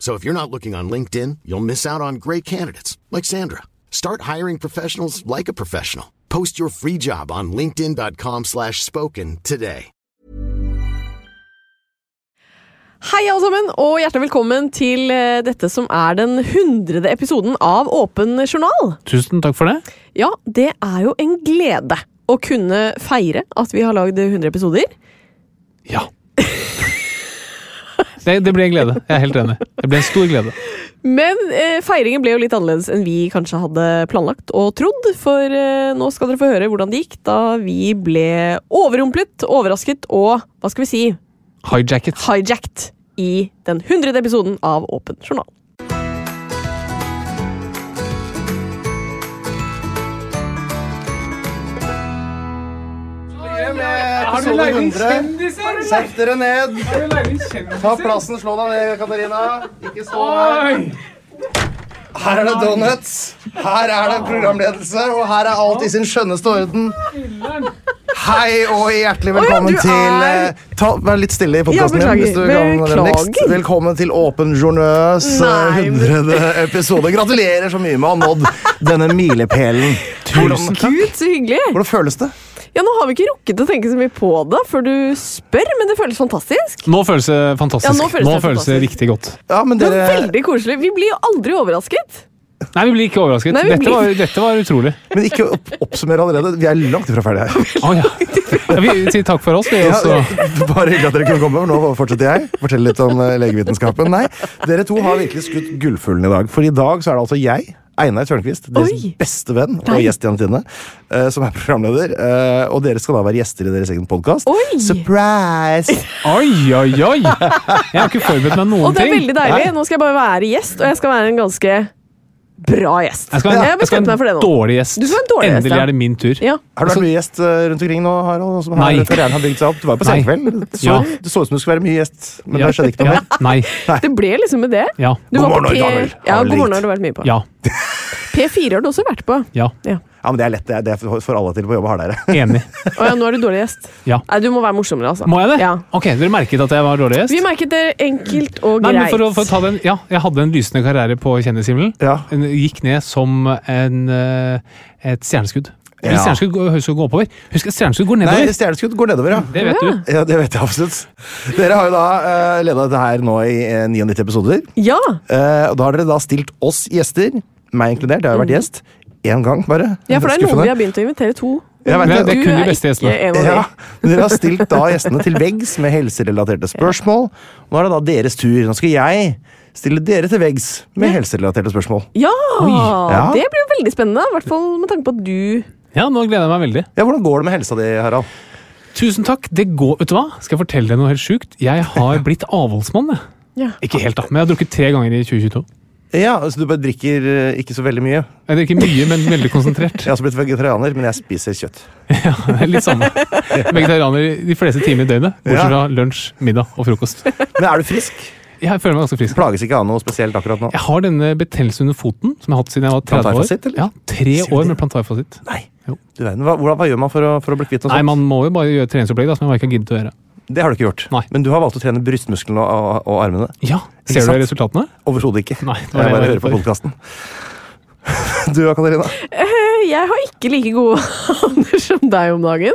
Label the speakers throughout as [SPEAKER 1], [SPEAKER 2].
[SPEAKER 1] So if you're not looking on LinkedIn, you'll miss out on great candidates like Sandra. Start hiring professionals like a professional. Post your free job on linkedin.com/spoken slash spoken today.
[SPEAKER 2] Hei alle sammen, og hjertelig velkommen til eh, dette som er den hundrede episoden av Åpen journal.
[SPEAKER 3] Tusen takk for det.
[SPEAKER 2] Ja, det er jo en glede å kunne feire at vi har lagd 100 episoder.
[SPEAKER 3] Ja. Det, det ble en glede. Jeg er helt enig. Det ble en stor glede.
[SPEAKER 2] Men eh, feiringen ble jo litt annerledes enn vi kanskje hadde planlagt og trodd, for eh, nå skal dere få høre hvordan det gikk da vi ble overrumplet, overrasket og, hva skal vi si,
[SPEAKER 3] Hijacket.
[SPEAKER 2] hijacked i den hundrede episoden av Åpen journal.
[SPEAKER 3] Har du leid inn kjendiser?
[SPEAKER 4] Sett dere ned.
[SPEAKER 3] Har du leid inn
[SPEAKER 4] Ta
[SPEAKER 3] kjendiser?
[SPEAKER 4] plassen, slå deg ned, Katarina. Ikke stå her.
[SPEAKER 3] Oi!
[SPEAKER 4] Her er det donuts. Her er det programledelse, og her er alt i sin skjønneste orden. Hei og hjertelig velkommen
[SPEAKER 2] du
[SPEAKER 4] til
[SPEAKER 2] er-
[SPEAKER 4] eh, ta, Vær litt stille i podkasten
[SPEAKER 2] Ja, beklager.
[SPEAKER 4] din. Hvis du kan være vennligst.
[SPEAKER 2] Beklager.
[SPEAKER 4] Velkommen til Åpen journøs
[SPEAKER 2] Nei, men-
[SPEAKER 4] 100. episode. Gratulerer så mye med å ha nådd denne milepælen. Hvordan,
[SPEAKER 3] Tusen takk.
[SPEAKER 2] Gud, så hyggelig!
[SPEAKER 4] hvordan føles det?
[SPEAKER 2] Ja, Nå har vi ikke rukket å tenke så mye på det før du spør, men det føles fantastisk.
[SPEAKER 3] Nå føles det fantastisk.
[SPEAKER 2] Ja, nå føles det
[SPEAKER 3] nå føles det
[SPEAKER 2] fantastisk.
[SPEAKER 3] riktig godt.
[SPEAKER 4] Ja, men
[SPEAKER 2] Det var
[SPEAKER 4] dere
[SPEAKER 2] veldig koselig. Vi blir jo aldri overrasket.
[SPEAKER 3] Nei, vi blir ikke overrasket.
[SPEAKER 2] Nei, vi
[SPEAKER 3] dette,
[SPEAKER 2] blir-
[SPEAKER 3] var, dette var utrolig.
[SPEAKER 4] Men ikke opp, oppsummer allerede. Vi er langt ifra ferdige her.
[SPEAKER 3] Å ja. ja. Vi sier takk for oss, vi
[SPEAKER 4] Ja,
[SPEAKER 3] også.
[SPEAKER 4] bare hyggelig at dere kunne komme. Nå fortsetter jeg. Fortelle litt om eh, legevitenskapen. Nei, dere to har virkelig skutt gullfuglen i dag. For i dag så er det altså jeg, Einar Tørnquist, deres
[SPEAKER 2] Oi.
[SPEAKER 4] beste venn og
[SPEAKER 2] Nei.
[SPEAKER 4] gjest i Antine, eh, som er programleder. eh, og dere skal da være gjester i deres egen podkast.
[SPEAKER 2] Oi!
[SPEAKER 4] Surprise!
[SPEAKER 3] Oi, oi, oi! Jeg har ikke forberedt
[SPEAKER 2] Og
[SPEAKER 3] meg noen
[SPEAKER 2] det er
[SPEAKER 3] ting.
[SPEAKER 2] veldig deilig. Nå skal jeg bare være gjest, og jeg skal være en ganske bra gjest.
[SPEAKER 3] Jeg skal ha
[SPEAKER 2] Jeg
[SPEAKER 3] en,
[SPEAKER 2] har
[SPEAKER 3] jeg skal
[SPEAKER 2] bestemt
[SPEAKER 3] ha
[SPEAKER 2] meg for det
[SPEAKER 3] en
[SPEAKER 2] nå.
[SPEAKER 3] dårlig gjest.
[SPEAKER 2] Du skal ha en dårlig gjest,
[SPEAKER 3] Endelig
[SPEAKER 2] ja.
[SPEAKER 3] er det min tur.
[SPEAKER 2] Ja.
[SPEAKER 4] Har du vært mye gjest eh, rundt omkring nå, Harald? Som her,
[SPEAKER 3] Nei.
[SPEAKER 4] karrieren har bygd seg opp. Du var jo på
[SPEAKER 3] Nei.
[SPEAKER 4] Senkveld. Det
[SPEAKER 3] Ja.
[SPEAKER 4] så- Det så ut som du skulle være mye gjest, men
[SPEAKER 3] Ja.
[SPEAKER 4] det skjedde ikke noe
[SPEAKER 3] Ja.
[SPEAKER 4] mer.
[SPEAKER 3] Nei.
[SPEAKER 2] Det ble liksom med det.
[SPEAKER 3] Ja.
[SPEAKER 2] Du var
[SPEAKER 4] God
[SPEAKER 2] på
[SPEAKER 4] morgen,
[SPEAKER 2] P-
[SPEAKER 4] Harald.
[SPEAKER 2] Ja,
[SPEAKER 4] Harald
[SPEAKER 2] God morgen
[SPEAKER 4] Ringt.
[SPEAKER 2] har du vært mye på.
[SPEAKER 3] Ja.
[SPEAKER 2] P4 har du også vært på.
[SPEAKER 3] Ja.
[SPEAKER 2] Ja.
[SPEAKER 4] Ja, men Det er lett, det er- det er for alle til på jobb har dere.
[SPEAKER 3] Enig.
[SPEAKER 2] Å ja, nå er du dårlig gjest.
[SPEAKER 3] Ja.
[SPEAKER 2] Nei, du må være morsommere, altså.
[SPEAKER 3] Må jeg det?
[SPEAKER 2] Ja.
[SPEAKER 3] Ok, Dere merket at jeg var dårlig gjest?
[SPEAKER 2] Vi merket det enkelt og
[SPEAKER 3] Nei,
[SPEAKER 2] greit.
[SPEAKER 3] men for å, for å ta den, ja, jeg hadde en lysende karriere på kjendishimmelen.
[SPEAKER 4] Ja.
[SPEAKER 3] Den Gikk ned som en, eh, et stjerneskudd. Eller
[SPEAKER 4] Ja.
[SPEAKER 3] stjerneskudd går- høres ut som å gå oppover. Husk at stjerneskudd går
[SPEAKER 4] Nei,
[SPEAKER 3] nedover.
[SPEAKER 4] stjerneskudd går nedover, ja.
[SPEAKER 3] det vet du.
[SPEAKER 4] Ja, det vet jeg absolutt. Dere har jo da uh, leda dette her nå i eh, 99 episoder.
[SPEAKER 2] Ja!
[SPEAKER 4] Eh, og da har dere da stilt oss gjester, meg inkludert, jeg har jo vært gjest, én gang bare.
[SPEAKER 2] Mm. ja, for det er noen
[SPEAKER 4] Skuffende.
[SPEAKER 2] vi har begynt å invitere to.
[SPEAKER 4] Jeg
[SPEAKER 3] Men
[SPEAKER 4] vet det.
[SPEAKER 3] det er kun de beste
[SPEAKER 2] ikke
[SPEAKER 3] gjestene.
[SPEAKER 2] en av de.
[SPEAKER 4] Ja, men Dere har stilt da gjestene til veggs med helserelaterte spørsmål. Nå er det da deres tur. Nå skal jeg stille dere til veggs med helserelaterte spørsmål.
[SPEAKER 2] Ja,
[SPEAKER 4] Ja.
[SPEAKER 2] Det blir jo veldig spennende, i hvert fall med tanke på at du
[SPEAKER 3] Ja, nå gleder jeg meg veldig.
[SPEAKER 4] Ja, Hvordan går det med helsa di, Harald?
[SPEAKER 3] Tusen takk. Det går, vet du hva? Skal jeg fortelle deg noe helt sjukt? Jeg har blitt avholdsmann. jeg.
[SPEAKER 2] Ja.
[SPEAKER 3] Ikke helt, da, men jeg har drukket tre ganger i 2022.
[SPEAKER 4] Ja, altså Du bare drikker eh, ikke så veldig mye.
[SPEAKER 3] Jeg drikker mye, men veldig konsentrert.
[SPEAKER 4] Jeg har også blitt vegetarianer, men jeg spiser kjøtt.
[SPEAKER 3] Det er Litt samme. Vegetarianer de fleste timer i døgnet. Bortsett
[SPEAKER 4] Ja.
[SPEAKER 3] fra lunsj, middag og frokost.
[SPEAKER 4] Men er du frisk?
[SPEAKER 3] Jeg føler meg ganske frisk.
[SPEAKER 4] Plages ikke av noe spesielt akkurat nå?
[SPEAKER 3] Jeg har denne betennelsen under foten som jeg har hatt siden jeg var 30 år.
[SPEAKER 4] Plantarfasitt, eller?
[SPEAKER 3] Ja, Tre
[SPEAKER 4] Sier du
[SPEAKER 3] år
[SPEAKER 4] det?
[SPEAKER 3] med plantarfasitt.
[SPEAKER 4] Nei. Du verden, hva, hvordan, hva gjør man for å, for å bli kvitt noe
[SPEAKER 3] Nei,
[SPEAKER 4] sånt?
[SPEAKER 3] man må jo bare gjøre treningsopplegg da, som jeg bare ikke har giddet å gjøre.
[SPEAKER 4] Det har du ikke gjort.
[SPEAKER 3] Nei.
[SPEAKER 4] Men du har valgt å trene brystmusklene og, og, og armene.
[SPEAKER 3] Ja,
[SPEAKER 4] Ikke
[SPEAKER 3] Ser du
[SPEAKER 4] sant?
[SPEAKER 3] resultatene?
[SPEAKER 4] Overhodet ikke.
[SPEAKER 3] Nei, det
[SPEAKER 4] jeg
[SPEAKER 3] var det jeg
[SPEAKER 4] bare
[SPEAKER 3] var
[SPEAKER 4] hører på
[SPEAKER 3] redd
[SPEAKER 4] podkasten. Du og Katarina?
[SPEAKER 2] eh, Jeg har ikke like gode vaner som deg om dagen.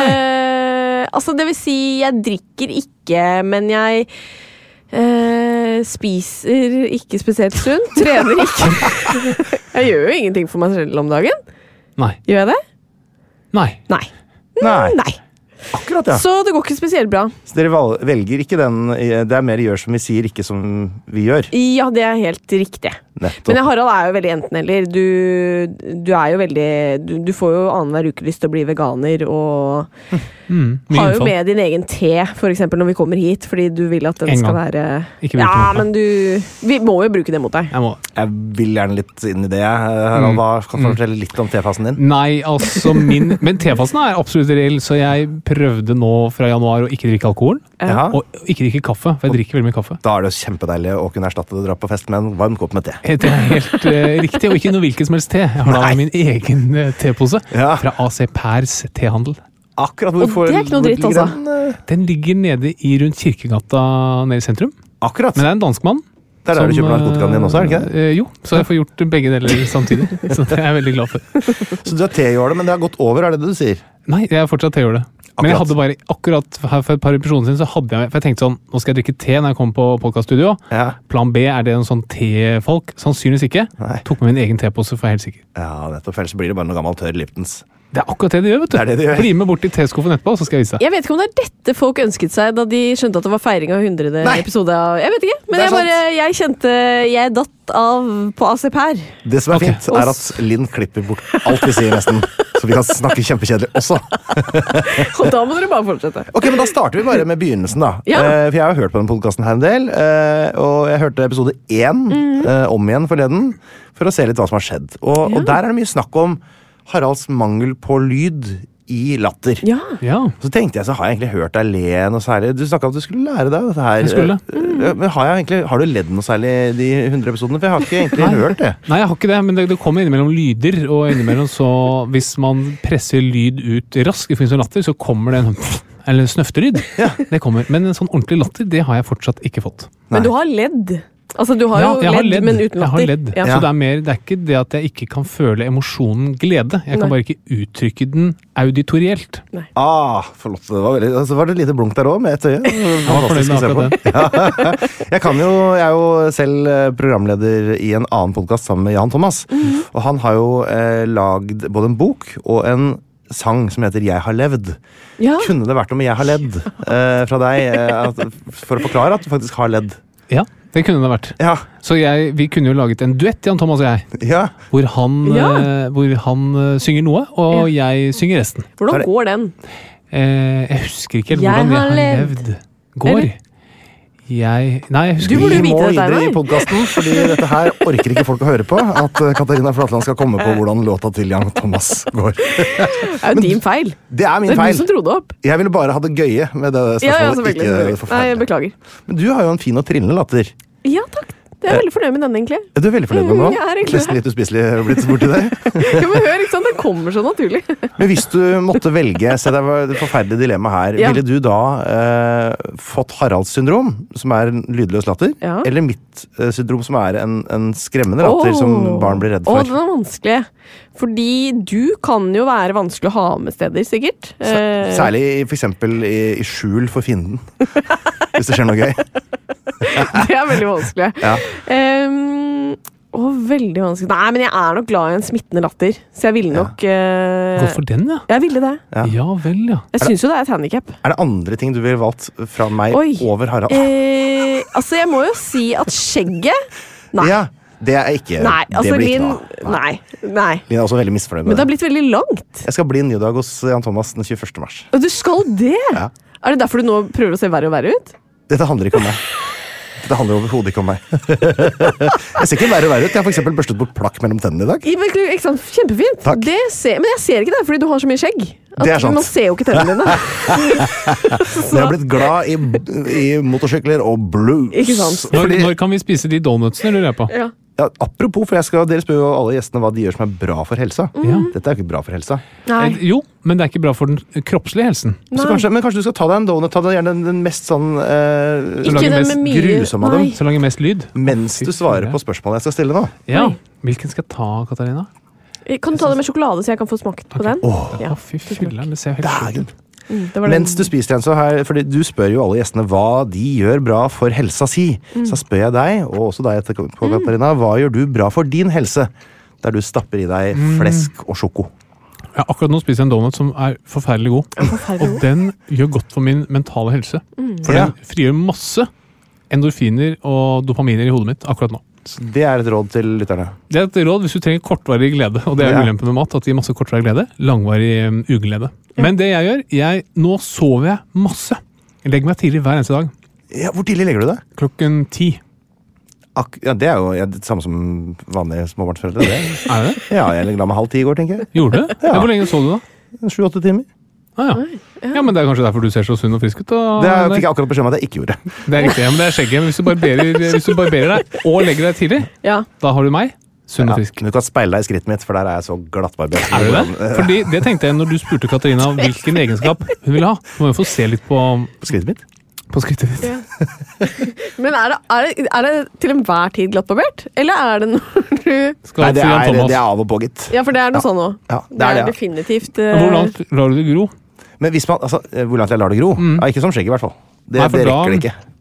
[SPEAKER 2] Eh, altså, det vil si, jeg drikker ikke, men jeg eh, spiser ikke spesielt sunt. Trener ikke. jeg gjør jo ingenting for meg selv om dagen.
[SPEAKER 3] Nei.
[SPEAKER 2] Gjør jeg det?
[SPEAKER 3] Nei.
[SPEAKER 2] Nei.
[SPEAKER 4] Nei.
[SPEAKER 2] Nei.
[SPEAKER 4] Akkurat, ja. Så,
[SPEAKER 2] Så det går ikke spesielt bra.
[SPEAKER 4] dere val- velger ikke den eh, Det er mer gjør som vi sier, ikke som vi gjør.
[SPEAKER 2] Ja, det er helt riktig.
[SPEAKER 4] Nettopp.
[SPEAKER 2] Men Harald er jo veldig enten-eller. Du, du er jo veldig Du, du får jo annenhver uke lyst til å bli veganer og
[SPEAKER 3] Mm, Mye
[SPEAKER 2] har jo
[SPEAKER 3] innfall.
[SPEAKER 2] med din egen te, f.eks. når vi kommer hit, fordi du vil at den
[SPEAKER 3] En
[SPEAKER 2] skal
[SPEAKER 3] gang.
[SPEAKER 2] være
[SPEAKER 3] Ikke bruke
[SPEAKER 2] Ja,
[SPEAKER 3] den mot meg.
[SPEAKER 2] men du Vi må jo bruke det mot deg.
[SPEAKER 3] Jeg må
[SPEAKER 4] Jeg vil gjerne litt inn i det. eh, Harald,
[SPEAKER 3] Mm.
[SPEAKER 4] hva kan du fortelle litt om tefasen din?
[SPEAKER 3] Nei, altså min Men T-fasen er absolutt reell, så jeg prøvde nå fra januar å ikke drikke alkohol.
[SPEAKER 4] Ja.
[SPEAKER 3] Og ikke drikke kaffe, for jeg drikker veldig mye kaffe.
[SPEAKER 4] Da er det jo kjempedeilig å kunne erstatte det å dra på fest med en varm kopp med te.
[SPEAKER 3] Det er helt eh, riktig, og ikke noe hvilken som helst te. Jeg har da
[SPEAKER 4] Nei.
[SPEAKER 3] min egen eh, tepose
[SPEAKER 4] Ja.
[SPEAKER 3] fra AC Pers tehandel.
[SPEAKER 4] Akkurat
[SPEAKER 2] Og det er ikke noe
[SPEAKER 4] hvor
[SPEAKER 2] dritt,
[SPEAKER 4] ligger
[SPEAKER 2] altså.
[SPEAKER 4] den, eh,
[SPEAKER 3] Den ligger nede i rundt Kirkegata nede i sentrum.
[SPEAKER 4] eh, Akkurat.
[SPEAKER 3] Men det er en dansk mann. eh,
[SPEAKER 4] Det er der du kjøper narkotikaen din også, er det ikke det?
[SPEAKER 3] Jo, så jeg får gjort begge deler samtidig. Så det er jeg veldig glad for.
[SPEAKER 4] eh, Så du har teålet, men det har gått over, er det det du sier?
[SPEAKER 3] Nei, jeg er fortsatt teåle. Men jeg
[SPEAKER 4] Akkurat.
[SPEAKER 3] hadde bare, akkurat her for et par episoder siden så hadde jeg For jeg tenkte sånn, nå skal jeg drikke te når jeg kommer på podkaststudio.
[SPEAKER 4] Ja.
[SPEAKER 3] Plan B, er det en sånn tefolk? Sannsynligvis ikke.
[SPEAKER 4] Nei.
[SPEAKER 3] Tok med min egen tepose, for jeg er helt sikker.
[SPEAKER 4] Ja, nettopp. Ellers blir det bare noe gammel tørr Liptons.
[SPEAKER 3] Det er akkurat det de gjør, vet du.
[SPEAKER 4] Det er det de gjør.
[SPEAKER 3] Bli med bort til teskuffen etterpå, så skal jeg vise deg.
[SPEAKER 2] Jeg vet ikke om det er dette folk ønsket seg da de skjønte at det var feiring av 100.
[SPEAKER 4] Nei.
[SPEAKER 2] episode av Jeg vet ikke, men
[SPEAKER 4] Det er
[SPEAKER 2] jeg bare Jeg kjente Jeg datt av på ACP her.
[SPEAKER 4] Det som er
[SPEAKER 3] Ok.
[SPEAKER 4] fint, er at Linn klipper bort alt vi sier, nesten. Så vi kan snakke kjempekjedelig også.
[SPEAKER 2] Og da må dere bare fortsette.
[SPEAKER 4] Ok, men Da starter vi bare med begynnelsen, da.
[SPEAKER 2] Ja.
[SPEAKER 4] Eh, for jeg har jo hørt på den podkasten her en del. eh, og jeg hørte episode én eh, om igjen forleden for å se litt hva som har skjedd. Og, og der er det mye snakk om Haralds mangel på lyd i latter.
[SPEAKER 2] Ja.
[SPEAKER 3] Ja.
[SPEAKER 4] Så tenkte jeg, så har jeg egentlig hørt deg le noe særlig. Du snakka om at du skulle lære deg dette her.
[SPEAKER 3] Jeg skulle.
[SPEAKER 4] Eh, Men har, jeg egentlig, har du ledd noe særlig i de 100 episodene? For jeg har ikke egentlig hørt det.
[SPEAKER 3] Nei, jeg har ikke det, men det, det kommer innimellom lyder, og innimellom så Hvis man presser lyd ut raskt i forbindelse med latter, så kommer det en sånn, eller en snøftelyd. Det kommer. Men en sånn ordentlig latter, det har jeg fortsatt ikke fått.
[SPEAKER 4] Nei.
[SPEAKER 2] Men du har ledd. Altså, du har
[SPEAKER 3] Ja,
[SPEAKER 2] jo
[SPEAKER 3] jeg har
[SPEAKER 2] ledd, men uten
[SPEAKER 3] Jeg
[SPEAKER 2] latter.
[SPEAKER 3] har ledd.
[SPEAKER 2] Ja.
[SPEAKER 3] Så det er, mer, det er ikke det at jeg ikke kan føle emosjonen glede. Jeg kan
[SPEAKER 2] Nei.
[SPEAKER 3] bare ikke uttrykke den auditorielt.
[SPEAKER 4] Ah, forlåt, det var veldig altså, Var det et lite blunk der òg, med ett øye? Det var
[SPEAKER 3] fornøyd
[SPEAKER 4] fantastisk å se
[SPEAKER 3] med
[SPEAKER 4] på. Ja. Jeg kan jo Jeg er jo selv eh, programleder i en annen podkast sammen med Jan Thomas.
[SPEAKER 3] Mhm.
[SPEAKER 4] Og han har jo eh, lagd både en bok og en sang som heter 'Jeg har levd'.
[SPEAKER 2] Ja.
[SPEAKER 4] Kunne det vært om 'Jeg har ledd' eh, fra deg, eh, at, for å forklare at du faktisk har ledd?
[SPEAKER 3] Ja, det kunne det vært.
[SPEAKER 4] Ja,
[SPEAKER 3] Så jeg, vi kunne jo laget en duett, Jan Thomas og jeg,
[SPEAKER 4] ja.
[SPEAKER 3] hvor han,
[SPEAKER 2] Ja.
[SPEAKER 3] eh, hvor han eh, synger noe, og jeg synger resten.
[SPEAKER 4] Var
[SPEAKER 2] Hvordan
[SPEAKER 4] det-
[SPEAKER 2] går den?
[SPEAKER 3] Eh, jeg husker ikke helt
[SPEAKER 2] Jeg
[SPEAKER 3] hvordan
[SPEAKER 2] har
[SPEAKER 3] jeg har
[SPEAKER 2] levd.
[SPEAKER 3] levd. Går.
[SPEAKER 2] Eller?
[SPEAKER 3] Jeg Nei, jeg
[SPEAKER 2] Du
[SPEAKER 3] husker
[SPEAKER 2] burde jo
[SPEAKER 4] Vi
[SPEAKER 2] vite
[SPEAKER 4] må
[SPEAKER 2] dette her,
[SPEAKER 4] videre i
[SPEAKER 2] Mar.
[SPEAKER 4] podkasten, fordi dette her orker ikke folk å høre på. At eh, Katarina Flatland skal komme på hvordan låta til Jan Thomas går.
[SPEAKER 2] Det er jo din feil.
[SPEAKER 4] Det er
[SPEAKER 2] Det
[SPEAKER 4] min
[SPEAKER 2] er du
[SPEAKER 4] feil.
[SPEAKER 2] som dro det opp.
[SPEAKER 4] Jeg ville bare ha det gøye med det spørsmålet.
[SPEAKER 2] Ja, ja, selvfølgelig.
[SPEAKER 4] ikke det
[SPEAKER 2] selvfølgelig. Nei, jeg
[SPEAKER 4] forferdelige.
[SPEAKER 2] beklager.
[SPEAKER 4] Men du har jo en fin og trillende latter.
[SPEAKER 2] Ja, takk. Jeg
[SPEAKER 4] Eh.
[SPEAKER 2] er veldig fornøyd med den, egentlig.
[SPEAKER 4] Er du veldig fornøyd med
[SPEAKER 2] Mm,
[SPEAKER 4] den
[SPEAKER 2] jeg er
[SPEAKER 4] nå?
[SPEAKER 2] egentlig det.
[SPEAKER 4] Nesten litt uspiselig blitt borti det.
[SPEAKER 2] Ja, men hør, ikke sant? Den kommer så naturlig.
[SPEAKER 4] Men hvis du måtte velge, se det var et forferdelig dilemma her,
[SPEAKER 2] Ja.
[SPEAKER 4] ville du da eh, fått Haralds syndrom, som er en lydløs latter,
[SPEAKER 2] Ja.
[SPEAKER 4] eller mitt eh, syndrom, som er en, en skremmende latter som
[SPEAKER 2] Åh.
[SPEAKER 4] barn blir
[SPEAKER 2] Åh,
[SPEAKER 4] redd for?
[SPEAKER 2] den er vanskelig. Fordi du kan jo være vanskelig å ha med steder, sikkert. Eh,
[SPEAKER 4] Særlig i- for eksempel i, i skjul for fienden. Hvis det skjer noe gøy.
[SPEAKER 2] Det er veldig vanskelig.
[SPEAKER 4] Ja.
[SPEAKER 2] Ehm, åh, veldig vanskelig. Nei, men jeg er nok glad i en smittende latter, så jeg ville nok eh,
[SPEAKER 3] Gå for den, ja.
[SPEAKER 2] Jeg ville det.
[SPEAKER 4] Ja.
[SPEAKER 3] Ja vel, ja.
[SPEAKER 2] Jeg syns jo det er et handikap.
[SPEAKER 4] Er det andre ting du ville valgt fra meg
[SPEAKER 2] Oi.
[SPEAKER 4] over Harald?
[SPEAKER 2] Eh, altså, jeg må jo si at skjegget Nei.
[SPEAKER 4] Ja, det er ikke
[SPEAKER 2] Nei, altså
[SPEAKER 4] Eh, det blir ikke
[SPEAKER 2] Linn
[SPEAKER 4] noe av. Nei.
[SPEAKER 2] Nei. nei.
[SPEAKER 4] Linn er også veldig misfornøyd
[SPEAKER 2] Men
[SPEAKER 4] med
[SPEAKER 2] det
[SPEAKER 4] det.
[SPEAKER 2] har blitt veldig langt.
[SPEAKER 4] Jeg skal bli nydag hos Jan Thomas den 21. mars.
[SPEAKER 2] Og du skal det!
[SPEAKER 4] Ja.
[SPEAKER 2] Er det derfor du nå prøver å se verre og verre ut?
[SPEAKER 4] Dette handler ikke om meg. Dette handler overhodet ikke om meg. jeg ser ikke verre og verre ut. Jeg har for eksempel børstet bort plakk mellom tennene i dag.
[SPEAKER 2] I- men Ikke sant? Kjempefint.
[SPEAKER 4] Takk.
[SPEAKER 2] Det ser, men jeg ser ikke det fordi du har så mye skjegg.
[SPEAKER 4] Det er sant.
[SPEAKER 2] Man ser jo ikke tennene dine.
[SPEAKER 4] Men jeg har blitt glad i, i motorsykler og blues.
[SPEAKER 2] Ikke sant.
[SPEAKER 3] Når,
[SPEAKER 4] Fordi
[SPEAKER 3] når kan vi spise de donutsene, lurer jeg på.
[SPEAKER 2] Ja.
[SPEAKER 4] ja, apropos, for jeg skal, dere spør jo alle gjestene hva de gjør som er bra for helsa.
[SPEAKER 3] Ja.
[SPEAKER 4] Dette er jo ikke bra for helsa.
[SPEAKER 2] Nei.
[SPEAKER 3] Eh, Jo, men det er ikke bra for den kroppslige helsen.
[SPEAKER 4] Så
[SPEAKER 2] Nei.
[SPEAKER 4] kanskje, men kanskje du skal ta deg en donut? Ta deg gjerne den, den mest sånn eh,
[SPEAKER 3] Så
[SPEAKER 2] Ikke
[SPEAKER 3] lager
[SPEAKER 2] den
[SPEAKER 3] mest
[SPEAKER 2] med mye
[SPEAKER 4] grusom av dem.
[SPEAKER 2] Nei.
[SPEAKER 3] Så lager mest lyd.
[SPEAKER 4] Mens
[SPEAKER 3] Fy
[SPEAKER 4] du svarer
[SPEAKER 3] fire.
[SPEAKER 4] på spørsmålet jeg skal stille nå.
[SPEAKER 3] Ja.
[SPEAKER 2] Oi.
[SPEAKER 3] Hvilken skal jeg ta, Katarina?
[SPEAKER 2] Kan du ta det med sjokolade, så jeg kan få smakt på den? Ja,
[SPEAKER 3] Å, fy filler'n, det ser jo helt sjukt ut.
[SPEAKER 2] Mm, det var den.
[SPEAKER 4] Mens du spiser den, så her, fordi du spør jo alle gjestene hva de gjør bra for helsa si. Så spør jeg deg, og også deg etterpå, Katarina, hva gjør du bra for din helse? Der du stapper i deg flesk og sjoko.
[SPEAKER 3] Ja, akkurat nå spiser jeg en donut som er forferdelig god.
[SPEAKER 2] Forferdelig
[SPEAKER 3] Og
[SPEAKER 2] god. Mm.
[SPEAKER 3] den gjør godt for min mentale helse. For
[SPEAKER 4] Ja.
[SPEAKER 3] den frigjør masse endorfiner og dopaminer i hodet mitt akkurat nå.
[SPEAKER 4] Så det er et råd til lytterne.
[SPEAKER 3] Det er et råd hvis du trenger kortvarig glede, og det er
[SPEAKER 4] Ja.
[SPEAKER 3] ulempen med mat. at det gir masse kortvarig glede, Langvarig um, uglede. Men det jeg gjør jeg, Nå sover jeg masse. Jeg legger meg tidlig hver eneste dag.
[SPEAKER 4] Ja, hvor tidlig legger du det?
[SPEAKER 3] Klokken ti.
[SPEAKER 4] Ak ja, det er jo ja, det samme som vanlige småbarnsforeldre. det.
[SPEAKER 3] Er det det?
[SPEAKER 4] Ja, jeg la meg halv ti i går, tenker jeg.
[SPEAKER 3] Gjorde du det?
[SPEAKER 4] Ja.
[SPEAKER 3] Ja. Hvor lenge sov du, da?
[SPEAKER 4] Sju-åtte timer.
[SPEAKER 3] Ah, ja. ja, men Det er kanskje derfor du ser så sunn og frisk ut? da,
[SPEAKER 4] Det er-
[SPEAKER 3] Henrik?
[SPEAKER 4] fikk jeg akkurat beskjed om at jeg ikke gjorde.
[SPEAKER 3] Det er riktig, ja, men det er skjegget. Men hvis du barberer, hvis du barberer deg og legger deg tidlig,
[SPEAKER 2] Ja.
[SPEAKER 3] da har du meg. Sunn
[SPEAKER 4] Ja,
[SPEAKER 3] og frisk.
[SPEAKER 4] men du kan speile deg i skrittet mitt, for der er jeg så glattbarbert.
[SPEAKER 3] Er du det? Fordi det tenkte jeg når du spurte Katarina hvilken egenskap hun ville ha. Du må jo få se litt på, um,
[SPEAKER 4] Skrittet mitt?
[SPEAKER 3] på skrittet ditt.
[SPEAKER 2] Men er det, er, det, er det til enhver tid glattbarbert? Eller er det når du
[SPEAKER 3] Skal
[SPEAKER 4] Nei,
[SPEAKER 3] til
[SPEAKER 4] det
[SPEAKER 3] Jan
[SPEAKER 4] er,
[SPEAKER 3] Thomas.
[SPEAKER 4] det er av og på, gitt.
[SPEAKER 2] Ja, for det er noe sånn òg.
[SPEAKER 4] Ja, det er det, ja.
[SPEAKER 2] definitivt
[SPEAKER 3] Men
[SPEAKER 2] eh,
[SPEAKER 3] Hvor langt lar du det gro?
[SPEAKER 4] Men hvis man, altså, eh, hvor langt jeg lar det gro? Ja, ikke som skjegg, i hvert fall. Det,
[SPEAKER 3] Mm. Nei, for
[SPEAKER 4] det
[SPEAKER 3] da-
[SPEAKER 4] rekker det ikke.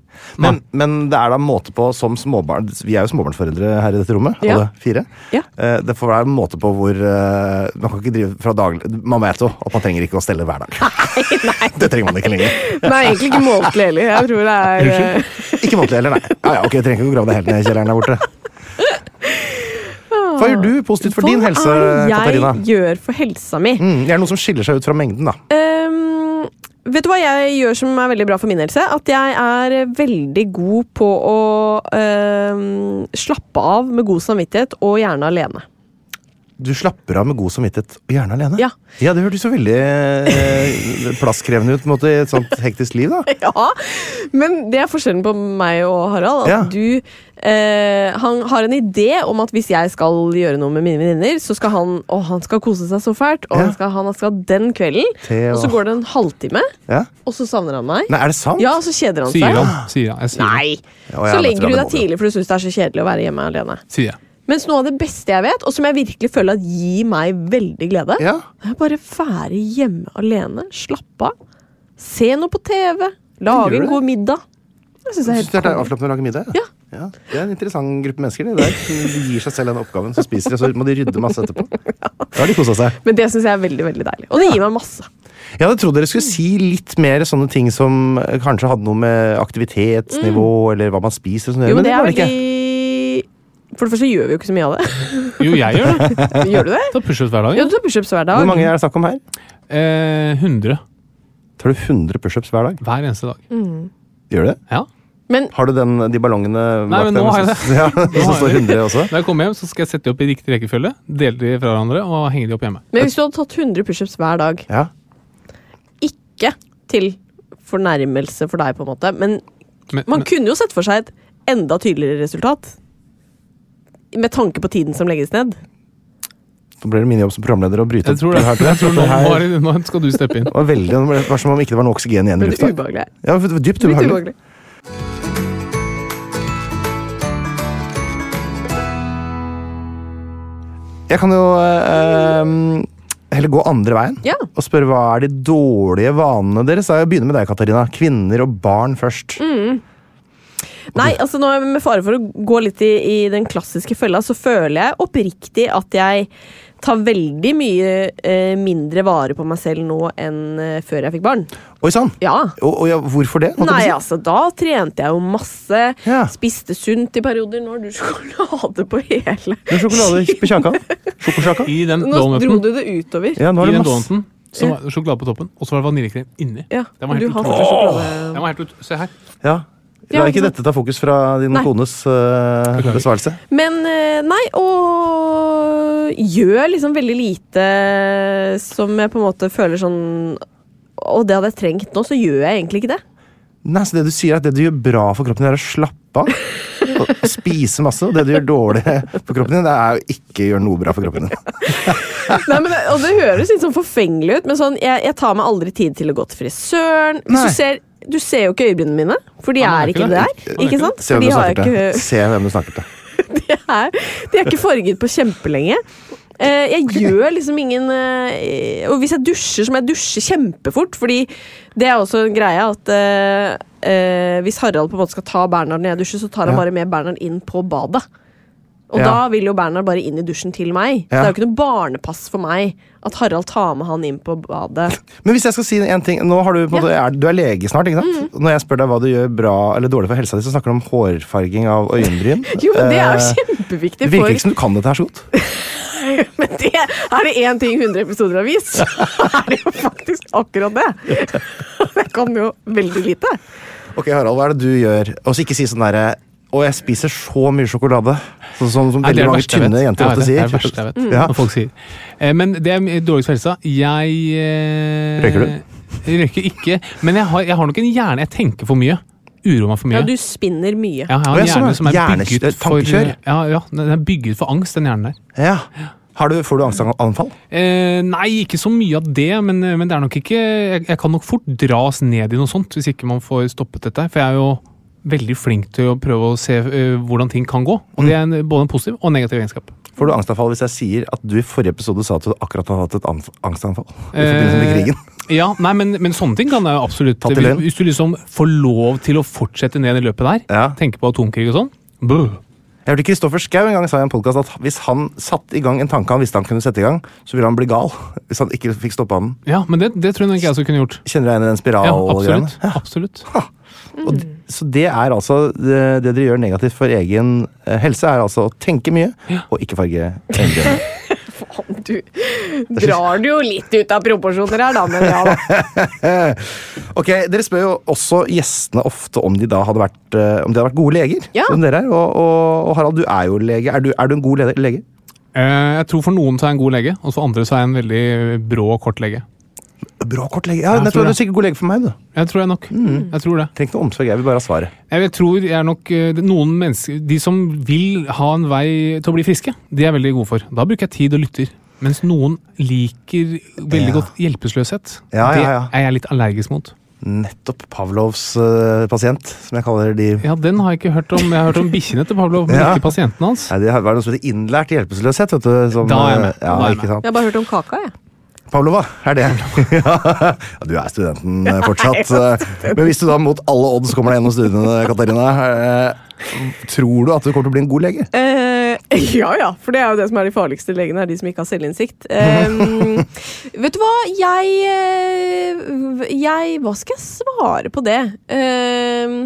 [SPEAKER 4] Men, men det er da måte på som småbarn Vi er jo småbarnsforeldre her i dette rommet,
[SPEAKER 2] Ja.
[SPEAKER 4] alle fire.
[SPEAKER 2] Ja.
[SPEAKER 4] Eh, Det får være en måte på hvor eh, Man kan ikke drive fra daglig Man vet jo at man trenger ikke å stelle hver dag. Det trenger man ikke lenger.
[SPEAKER 2] Nei, egentlig ikke månedlig heller. Jeg tror det er eh,
[SPEAKER 4] Ikke månedlig heller, nei. Ja, ja, ok, jeg trenger ikke å grave det helt ned i kjelleren der borte. Hva gjør du positivt for din
[SPEAKER 2] Hva
[SPEAKER 4] helse,
[SPEAKER 2] er det jeg
[SPEAKER 4] Katarina?
[SPEAKER 2] gjør for helsa mi?
[SPEAKER 4] Mm, det er noe som skiller seg ut fra mengden, da.
[SPEAKER 2] Ehm, vet du hva jeg gjør som er veldig bra for min helse? At jeg er veldig god på å ehm, slappe av med god samvittighet, og gjerne alene.
[SPEAKER 4] Du slapper av med god samvittighet, og gjerne alene?
[SPEAKER 2] Ja.
[SPEAKER 4] det hørtes jo veldig eh, plasskrevende ut på en måte, i et sånt hektisk liv, da.
[SPEAKER 2] Ja, Men det er forskjellen på meg og Harald. At
[SPEAKER 4] Ja.
[SPEAKER 2] du eh, Han har en idé om at hvis jeg skal gjøre noe med mine venninner, så skal han å, han skal kose seg så fælt, og
[SPEAKER 4] Ja.
[SPEAKER 2] han, skal, han skal ha den kvelden.
[SPEAKER 4] Te og-
[SPEAKER 2] Og så går det en halvtime,
[SPEAKER 4] Ja.
[SPEAKER 2] og så savner han meg.
[SPEAKER 4] Nei, er det sant?
[SPEAKER 2] Ja, og så kjeder han
[SPEAKER 3] Sier
[SPEAKER 2] seg.
[SPEAKER 3] han. Sier han. Jeg sier det.
[SPEAKER 2] Nei!
[SPEAKER 4] Ja, og jeg
[SPEAKER 2] så
[SPEAKER 4] vet
[SPEAKER 2] legger
[SPEAKER 4] hva
[SPEAKER 2] du
[SPEAKER 4] det
[SPEAKER 2] deg
[SPEAKER 4] må bli.
[SPEAKER 2] tidlig, for du syns det er så kjedelig å være hjemme alene.
[SPEAKER 3] Sier jeg.
[SPEAKER 2] Mens noe av det beste jeg vet, og som jeg virkelig føler at gir meg veldig glede,
[SPEAKER 4] Ja.
[SPEAKER 2] det er bare være hjemme alene, slappe av, se noe på TV, lage
[SPEAKER 4] Gjør
[SPEAKER 2] en
[SPEAKER 4] du
[SPEAKER 2] god middag. Jeg synes det er
[SPEAKER 4] Syns
[SPEAKER 2] helt
[SPEAKER 4] du det er
[SPEAKER 2] konge.
[SPEAKER 4] avslappende å lage middag?
[SPEAKER 2] Ja.
[SPEAKER 4] Det er en interessant gruppe mennesker. De, der. de gir seg selv den oppgaven, så spiser de, og så må de rydde masse etterpå. Da har de kosa seg.
[SPEAKER 2] Men det syns jeg er veldig veldig deilig. Og det gir meg masse.
[SPEAKER 4] Jeg hadde trodd dere skulle si litt mer sånne ting som eh, kanskje hadde noe med aktivitetsnivå
[SPEAKER 3] Mm.
[SPEAKER 4] eller hva man spiser og sånn å
[SPEAKER 2] Jo,
[SPEAKER 4] gjøre,
[SPEAKER 2] men det er
[SPEAKER 4] var
[SPEAKER 2] veldig For det første gjør vi jo ikke så mye av det.
[SPEAKER 3] Jo, jeg gjør det.
[SPEAKER 2] Gjør du det?
[SPEAKER 3] Da pushes hver dag.
[SPEAKER 2] Ja, du tar pushups hver dag.
[SPEAKER 4] Hvor mange er det snakk om her?
[SPEAKER 3] Eh, 100
[SPEAKER 4] Tar du 100 pushups hver dag?
[SPEAKER 3] hver eneste dag.
[SPEAKER 2] Mm.
[SPEAKER 4] Gjør du det?
[SPEAKER 3] Ja.
[SPEAKER 2] Men
[SPEAKER 4] Har du den, de ballongene
[SPEAKER 3] Nei, men
[SPEAKER 4] deg
[SPEAKER 3] nå
[SPEAKER 4] med
[SPEAKER 3] har jeg
[SPEAKER 4] sånn- Ja,
[SPEAKER 3] Nå
[SPEAKER 4] som
[SPEAKER 3] har
[SPEAKER 4] står
[SPEAKER 3] jeg
[SPEAKER 4] 100 også?
[SPEAKER 3] Når jeg kommer hjem, så skal jeg sette de opp i riktig rekkefølge, dele de fra hverandre og henge de opp hjemme.
[SPEAKER 2] Men hvis du hadde tatt 100 pushups hver dag,
[SPEAKER 4] Ja.
[SPEAKER 2] ikke til fornærmelse for deg, på en måte, men
[SPEAKER 3] Men,
[SPEAKER 2] man
[SPEAKER 3] men,
[SPEAKER 2] kunne jo sett for seg et enda tydeligere resultat. Med tanke på tiden som legges ned.
[SPEAKER 4] Da blir det min jobb som programleder å bryte
[SPEAKER 3] jeg tror det.
[SPEAKER 4] opp.
[SPEAKER 3] Jeg tror nå,
[SPEAKER 4] det her
[SPEAKER 3] Mari, nå skal du steppe inn.
[SPEAKER 4] var veldig, det var som om ikke det var noe oksygen igjen i
[SPEAKER 2] Veldig
[SPEAKER 4] lufta.
[SPEAKER 2] ubehagelig.
[SPEAKER 4] Ja, det var dypt
[SPEAKER 2] Litt
[SPEAKER 4] ubehagelig.
[SPEAKER 2] ubehagelig.
[SPEAKER 4] Jeg kan jo eh, em, heller gå andre veien
[SPEAKER 2] Ja.
[SPEAKER 4] og spørre hva er de dårlige vanene deres? Jeg begynner med deg, Katarina. Kvinner og barn først.
[SPEAKER 2] Nei, altså nå er jeg med fare for å gå litt i, i den klassiske fella, så føler jeg oppriktig at jeg tar veldig mye eh, mindre vare på meg selv nå enn eh, før jeg fikk barn.
[SPEAKER 4] Oi sann!
[SPEAKER 2] Ja.
[SPEAKER 4] Og, og ja, hvorfor det? holdt jeg på å
[SPEAKER 2] Nei,
[SPEAKER 4] si?
[SPEAKER 2] altså, da trente jeg jo masse.
[SPEAKER 4] Ja.
[SPEAKER 2] Spiste sunt i perioder. Nå har du sjokolade på hele.
[SPEAKER 4] Det er sjokolade på kjakan. Sjokosjaka.
[SPEAKER 3] I den
[SPEAKER 2] Nå dro
[SPEAKER 3] donuten
[SPEAKER 2] du det utover.
[SPEAKER 4] Ja, nå
[SPEAKER 3] I
[SPEAKER 4] er det
[SPEAKER 3] den
[SPEAKER 4] masse.
[SPEAKER 3] donuten så var det sjokolade på toppen, og så var det vaniljekrem inni.
[SPEAKER 2] Ja,
[SPEAKER 3] Den var
[SPEAKER 2] du
[SPEAKER 3] helt
[SPEAKER 2] har
[SPEAKER 3] utrolig.
[SPEAKER 2] fortsatt sjokolade.
[SPEAKER 3] Den var helt ut... Se her.
[SPEAKER 4] Ja.
[SPEAKER 2] Ja,
[SPEAKER 4] La ikke
[SPEAKER 2] ikke sant?
[SPEAKER 4] dette ta fokus fra din
[SPEAKER 2] Nei.
[SPEAKER 4] kones eh,
[SPEAKER 3] Beklager.
[SPEAKER 4] besvarelse.
[SPEAKER 2] Men eh, nei, og gjør liksom veldig lite eh, som jeg på en måte føler sånn Og det hadde jeg trengt nå, så gjør jeg egentlig ikke det.
[SPEAKER 4] Nei, så det du sier er at det du gjør bra for kroppen din, er å slappe av. Og og spise masse. Og det du gjør dårlig for kroppen din, det er jo ikke gjøre noe bra for kroppen din.
[SPEAKER 2] Nei, men, og det høres litt sånn forfengelig ut, men sånn, jeg, jeg tar meg aldri tid til å gå til frisøren. Hvis
[SPEAKER 4] Nei.
[SPEAKER 2] du ser, du ser jo ikke øyebrynene mine, for de
[SPEAKER 3] Ja,
[SPEAKER 2] er
[SPEAKER 3] men det er
[SPEAKER 2] ikke
[SPEAKER 3] ikke
[SPEAKER 2] der.
[SPEAKER 3] det.
[SPEAKER 2] Ikke sant?
[SPEAKER 4] Se
[SPEAKER 2] For
[SPEAKER 4] hvem
[SPEAKER 2] de
[SPEAKER 4] du
[SPEAKER 2] har
[SPEAKER 4] snakker
[SPEAKER 2] jo
[SPEAKER 4] til.
[SPEAKER 2] ikke
[SPEAKER 4] Se hvem du snakker til.
[SPEAKER 2] de er, de er ikke farget på kjempelenge. Eh, jeg gjør liksom ingen eh, Og hvis jeg dusjer, så må jeg dusje kjempefort. Fordi det er også en greie at eh, eh, hvis Harald på en måte skal ta Bernhard når jeg dusjer, så tar han
[SPEAKER 4] Ja.
[SPEAKER 2] bare med Bernhard inn på badet. Og
[SPEAKER 4] Ja.
[SPEAKER 2] da vil jo Bernhard bare inn i dusjen til meg. Så
[SPEAKER 4] Ja.
[SPEAKER 2] det er jo ikke noe barnepass for meg at Harald tar med han inn på badet.
[SPEAKER 4] Men hvis jeg skal si en ting Nå har Du på en måte, er, du er lege snart, ikke sant?
[SPEAKER 2] Mm.
[SPEAKER 4] Når jeg spør deg hva du gjør bra eller dårlig for helsa di, så snakker du om hårfarging av øyenbryn.
[SPEAKER 2] Jo, men det er jo
[SPEAKER 4] Eh,
[SPEAKER 2] kjempeviktig
[SPEAKER 4] det virker
[SPEAKER 2] for
[SPEAKER 4] ikke som du kan dette her så godt.
[SPEAKER 2] Men det, er det én ting 100 episoder har vist, så er det jo faktisk akkurat det! Jeg kan jo veldig lite.
[SPEAKER 4] Ok, Harald, hva er det du gjør? Og så ikke si sånn derre Å, jeg spiser så mye sjokolade. Sånn som, som
[SPEAKER 3] Nei, det er
[SPEAKER 4] veldig
[SPEAKER 3] det
[SPEAKER 4] mange
[SPEAKER 3] verste jeg
[SPEAKER 4] tynne
[SPEAKER 3] vet.
[SPEAKER 4] jenter
[SPEAKER 3] Jeg vet
[SPEAKER 4] ofte
[SPEAKER 3] det,
[SPEAKER 4] sier.
[SPEAKER 3] Det er det verste jeg vet.
[SPEAKER 4] Ja.
[SPEAKER 3] Når folk sier. Eh, Men det er dårligst for helsa. Jeg eh,
[SPEAKER 4] Røyker du?
[SPEAKER 3] jeg Røyker ikke. Men jeg har, jeg har nok en hjerne Jeg tenker for mye. Uroer meg for mye.
[SPEAKER 2] Ja, du spinner mye.
[SPEAKER 3] Ja, jeg har
[SPEAKER 4] Å,
[SPEAKER 3] en
[SPEAKER 4] ja, sånn, ja.
[SPEAKER 3] hjerne som er
[SPEAKER 4] Hjerne- det er
[SPEAKER 3] bygget for ja,
[SPEAKER 4] tankekjør.
[SPEAKER 3] ja, Den er bygget for angst, den hjernen der.
[SPEAKER 4] Ja. Har du, får du angstanfall?
[SPEAKER 3] Eh, nei, ikke så mye av det, men, eh, men det er nok ikke jeg, jeg kan nok fort dras ned i noe sånt hvis ikke man får stoppet dette. For jeg er jo veldig flink til å prøve å se eh, hvordan ting kan gå.
[SPEAKER 4] Mm.
[SPEAKER 3] Og det er en, både en positiv og en negativ egenskap.
[SPEAKER 4] Får du angstanfall hvis jeg sier at du i forrige episode sa at du akkurat hadde hatt et anf- angstanfall? I
[SPEAKER 3] Eh,
[SPEAKER 4] forbindelse med krigen.
[SPEAKER 3] Ja, nei, men, men sånne ting kan jeg jo absolutt
[SPEAKER 4] Tatt i
[SPEAKER 3] hvis,
[SPEAKER 4] løgn.
[SPEAKER 3] hvis du liksom får lov til å fortsette ned i løpet der,
[SPEAKER 4] Ja.
[SPEAKER 3] tenke på atomkrig og sånn brr.
[SPEAKER 4] Jeg hørte Kristoffer Schau en gang sa i en podcast at hvis han satte i gang en tanke han visste han kunne sette i gang, så ville han bli gal. Hvis han ikke fikk stoppa den.
[SPEAKER 3] Ja, men det, det tror jeg nok jeg også kunne gjort.
[SPEAKER 4] Kjenner du deg igjen i den
[SPEAKER 3] Ja,
[SPEAKER 4] spiralgreiene?
[SPEAKER 3] absolutt. absolutt.
[SPEAKER 4] Og d- Så det er altså det, det dere gjør negativt for egen eh, helse, er altså å tenke mye og ikke farge øyenbrynene.
[SPEAKER 2] Faen, Du drar det jo litt ut av proporsjoner her, da. Men ja, da.
[SPEAKER 4] Ok, Dere spør jo også gjestene ofte om de da hadde vært, eh, om de hadde vært gode leger.
[SPEAKER 2] Ja.
[SPEAKER 4] Som dere er. Og, og, og Harald, du er jo lege. Er du, er du en god leder- lege?
[SPEAKER 3] Eh, jeg tror for noen så er jeg en god lege, og for andre så er jeg en veldig brå og kort lege.
[SPEAKER 4] Bra kort lege. Ja,
[SPEAKER 3] Jeg
[SPEAKER 4] nettopp,
[SPEAKER 3] tror
[SPEAKER 4] du
[SPEAKER 3] det.
[SPEAKER 4] er sikkert god lege for meg. du.
[SPEAKER 3] Jeg tror jeg nok.
[SPEAKER 4] Mm.
[SPEAKER 3] Jeg tror det.
[SPEAKER 4] Trenger ikke noe omsorg, jeg vil bare ha svaret.
[SPEAKER 3] Jeg, vet- tror jeg er nok eh, det- noen mennesker De som vil ha en vei til å bli friske, de er jeg veldig gode for. Da bruker jeg tid og lytter. Mens noen liker veldig
[SPEAKER 4] Ja.
[SPEAKER 3] godt hjelpeløsløshet.
[SPEAKER 4] Ja, ja, ja.
[SPEAKER 3] Det er jeg litt allergisk mot.
[SPEAKER 4] Nettopp Pavlovs eh, pasient, som jeg kaller de
[SPEAKER 3] Ja, Den har jeg ikke hørt om. Jeg har hørt om bikkjene til Pavlov, men
[SPEAKER 4] Ja.
[SPEAKER 3] ikke pasienten hans.
[SPEAKER 4] Nei, Det var noe som heter innlært hjelpeløshet. vet du. Som,
[SPEAKER 3] Da er jeg med.
[SPEAKER 4] eh, Ja,
[SPEAKER 3] Da er jeg
[SPEAKER 4] ikke sant?
[SPEAKER 2] Jeg har bare hørt om kaka, jeg.
[SPEAKER 4] Pavlova, er det. ja, du er studenten eh, fortsatt. eh, Men hvis du da mot alle odds kommer deg gjennom studiene, Katarina, eh, tror du at du kommer til å bli en god lege?
[SPEAKER 2] Eh, ja ja, for det er jo det som er de farligste legene, er de som ikke har selvinnsikt. Ehm, vet du hva, jeg eh, Jeg Hva skal jeg svare på det? Ehm,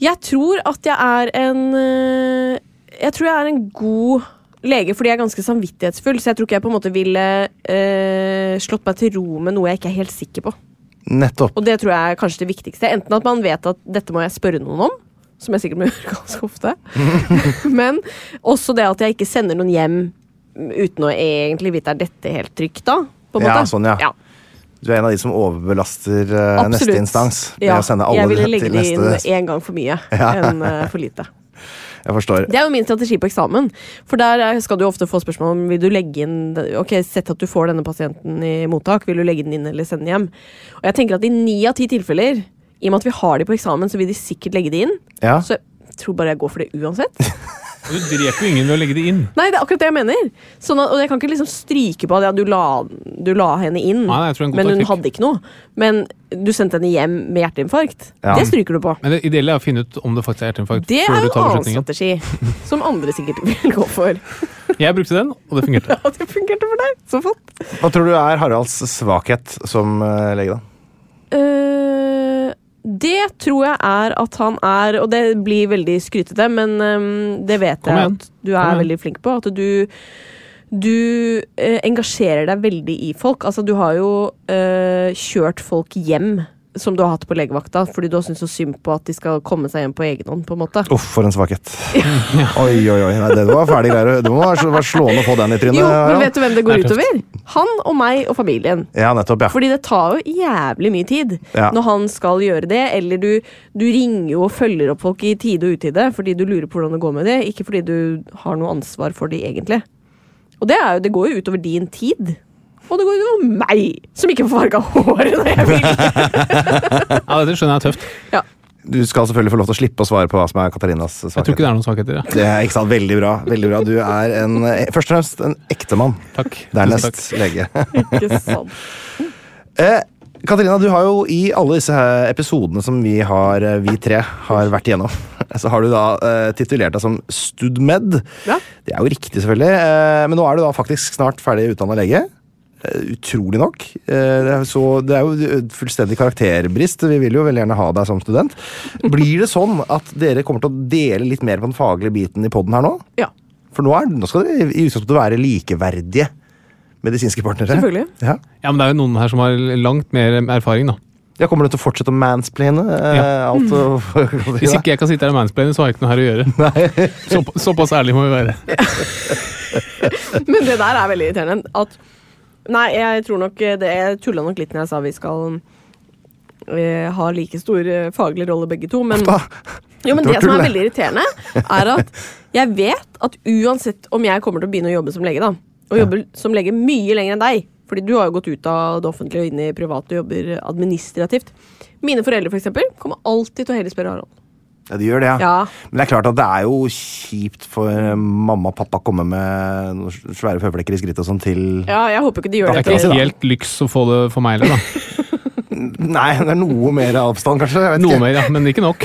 [SPEAKER 2] jeg tror at jeg er en eh, Jeg tror jeg er en god lege fordi jeg er ganske samvittighetsfull, så jeg tror ikke jeg på en måte ville eh, slått meg til ro med noe jeg ikke er helt sikker på.
[SPEAKER 4] Nettopp.
[SPEAKER 2] Og det tror jeg er kanskje det viktigste. Enten at man vet at dette må jeg spørre noen om, som jeg sikkert må gjøre ganske ofte, men også det at jeg ikke sender noen hjem uten å egentlig vite er dette helt trygt, da. På en
[SPEAKER 4] Ja,
[SPEAKER 2] måte.
[SPEAKER 4] sånn, ja. Du er en av de som overbelaster eh,
[SPEAKER 2] Absolutt.
[SPEAKER 4] neste instans. Med
[SPEAKER 2] Ja,
[SPEAKER 4] å sende alle
[SPEAKER 2] jeg ville legge
[SPEAKER 4] til
[SPEAKER 2] det inn
[SPEAKER 4] neste
[SPEAKER 2] én gang for mye enn eh, for lite.
[SPEAKER 4] Jeg forstår.
[SPEAKER 2] Det er jo min strategi på eksamen. For der er- skal du ofte få spørsmål om vil du legge inn Ok, sett at du får denne pasienten i mottak, vil du legge den inn eller sende den hjem? Og jeg tenker at i ni av ti tilfeller, i og med at vi har de på eksamen, så vil de sikkert legge det inn.
[SPEAKER 4] Ja.
[SPEAKER 2] Så jeg tror bare jeg går for det uansett.
[SPEAKER 3] Og du dreper jo ingen ved å legge det inn.
[SPEAKER 2] Nei, det er akkurat det jeg mener. Sånn at, og jeg kan ikke liksom stryke på at ja, du, la, du la henne inn,
[SPEAKER 3] Nei, jeg tror det er en god
[SPEAKER 2] men hun
[SPEAKER 3] taktikk.
[SPEAKER 2] hadde ikke noe. Men du sendte henne hjem med hjerteinfarkt.
[SPEAKER 4] Ja.
[SPEAKER 2] Det stryker du på.
[SPEAKER 3] Men det ideelle er å finne ut om det faktisk er hjerteinfarkt.
[SPEAKER 2] Det
[SPEAKER 3] før
[SPEAKER 2] er
[SPEAKER 3] du
[SPEAKER 2] jo
[SPEAKER 3] tar
[SPEAKER 2] en annen
[SPEAKER 3] beslutningen.
[SPEAKER 2] strategi som andre sikkert vil gå for.
[SPEAKER 3] Jeg brukte den, og det fungerte.
[SPEAKER 2] Ja, det fungerte for deg. Så flott.
[SPEAKER 4] Hva tror du er Haralds svakhet som eh, lege, da?
[SPEAKER 2] Eh, det tror jeg er at han er Og det blir veldig skrytete, men ehm, det vet
[SPEAKER 3] Kom
[SPEAKER 2] jeg
[SPEAKER 3] igjen.
[SPEAKER 2] at du
[SPEAKER 3] Kom
[SPEAKER 2] er
[SPEAKER 3] igjen.
[SPEAKER 2] veldig flink på. At du du eh, engasjerer deg veldig i folk. Altså, du har jo eh, kjørt folk hjem som du har hatt på legevakta fordi du har syntes så synd på at de skal komme seg hjem på egen hånd. på en måte.
[SPEAKER 4] Uff, for en svakhet. Oi, oi, oi. Nei, det var fæle greier. Det må være være slående å få den i trynet.
[SPEAKER 2] Jo, men
[SPEAKER 4] Harald.
[SPEAKER 2] vet du hvem det
[SPEAKER 3] Nei,
[SPEAKER 2] går
[SPEAKER 3] tøft.
[SPEAKER 2] utover? Han og meg og familien.
[SPEAKER 4] Ja, nettopp, ja.
[SPEAKER 2] Fordi det tar jo jævlig mye tid
[SPEAKER 4] Ja.
[SPEAKER 2] når han skal gjøre det, eller du, du ringer jo og følger opp folk i tide og utide fordi du lurer på hvordan det går med det, ikke fordi du har noe ansvar for de egentlig. Og det, er jo, det går jo utover din tid. Og det går jo utover meg, som ikke får farga håret når jeg vil.
[SPEAKER 3] Ja, Dette skjønner jeg er tøft.
[SPEAKER 2] Ja.
[SPEAKER 4] Du skal selvfølgelig få lov til å slippe å svare på hva som er Katarinas
[SPEAKER 3] Jeg tror ikke
[SPEAKER 4] svakhet.
[SPEAKER 3] det er noen svakheter. Ja.
[SPEAKER 4] Det er ikke sant, Veldig bra. veldig bra. Du er en, eh, først og fremst en ektemann.
[SPEAKER 3] Takk. Tusen
[SPEAKER 4] Dernest
[SPEAKER 3] takk.
[SPEAKER 4] lege.
[SPEAKER 2] Ikke sant.
[SPEAKER 4] Eh, Katarina, du har jo i alle disse her episodene som vi, har, eh, vi tre har vært igjennom, så har du da eh, titulert deg som studmed.
[SPEAKER 2] Ja.
[SPEAKER 4] Det er jo riktig, selvfølgelig, eh, men nå er du da faktisk snart ferdig utdanna lege. Eh, utrolig nok. Eh, det er jo så det er jo eh, fullstendig karakterbrist. Vi vil jo veldig gjerne ha deg som student. Blir det sånn at dere kommer til å dele litt mer på den faglige biten i poden her nå?
[SPEAKER 2] Ja.
[SPEAKER 4] For nå, er, nå skal dere i utgangspunktet være likeverdige medisinske partnere.
[SPEAKER 2] Selvfølgelig.
[SPEAKER 4] Ja.
[SPEAKER 3] Ja, men det er jo noen her som har langt mer erfaring, da.
[SPEAKER 4] Ja, kommer du til å fortsette å mansplaine eh,
[SPEAKER 3] Ja.
[SPEAKER 4] alt? og-
[SPEAKER 3] Hvis ikke jeg kan sitte her og mansplaine, så har jeg ikke noe her å gjøre. Såpa- såpass ærlig må vi være.
[SPEAKER 2] Men det der er veldig irriterende. At, nei, jeg tror nok eh, det Jeg tulla nok litt når jeg sa vi skal eh, ha like stor eh, faglig rolle begge to, men
[SPEAKER 4] Da-
[SPEAKER 2] Jo, men
[SPEAKER 4] Det var
[SPEAKER 2] det som
[SPEAKER 4] tull,
[SPEAKER 2] er
[SPEAKER 4] det.
[SPEAKER 2] veldig irriterende, er at jeg vet at uansett om jeg kommer til å begynne å jobbe som lege, da, og jobbe som lege mye lenger enn deg, fordi du har jo gått ut av det offentlige og inn i private og jobber administrativt Mine foreldre for eksempel, kommer alltid til å heller spørre Harald.
[SPEAKER 4] Ja, de gjør det, ja.
[SPEAKER 2] Ja.
[SPEAKER 4] Men det er klart at det er jo kjipt for eh, mamma og pappa å komme med noen svære føflekker i skrittet og sånn til
[SPEAKER 2] Ja, altså. jeg håper ikke de gjør
[SPEAKER 3] Det
[SPEAKER 2] det.
[SPEAKER 3] er ikke
[SPEAKER 2] til-
[SPEAKER 3] helt lyks å få det for meg heller, da.
[SPEAKER 4] Nei, det er noe mer avstand, kanskje. Jeg vet
[SPEAKER 3] Noe
[SPEAKER 4] ikke.
[SPEAKER 3] mer, ja, men ikke nok.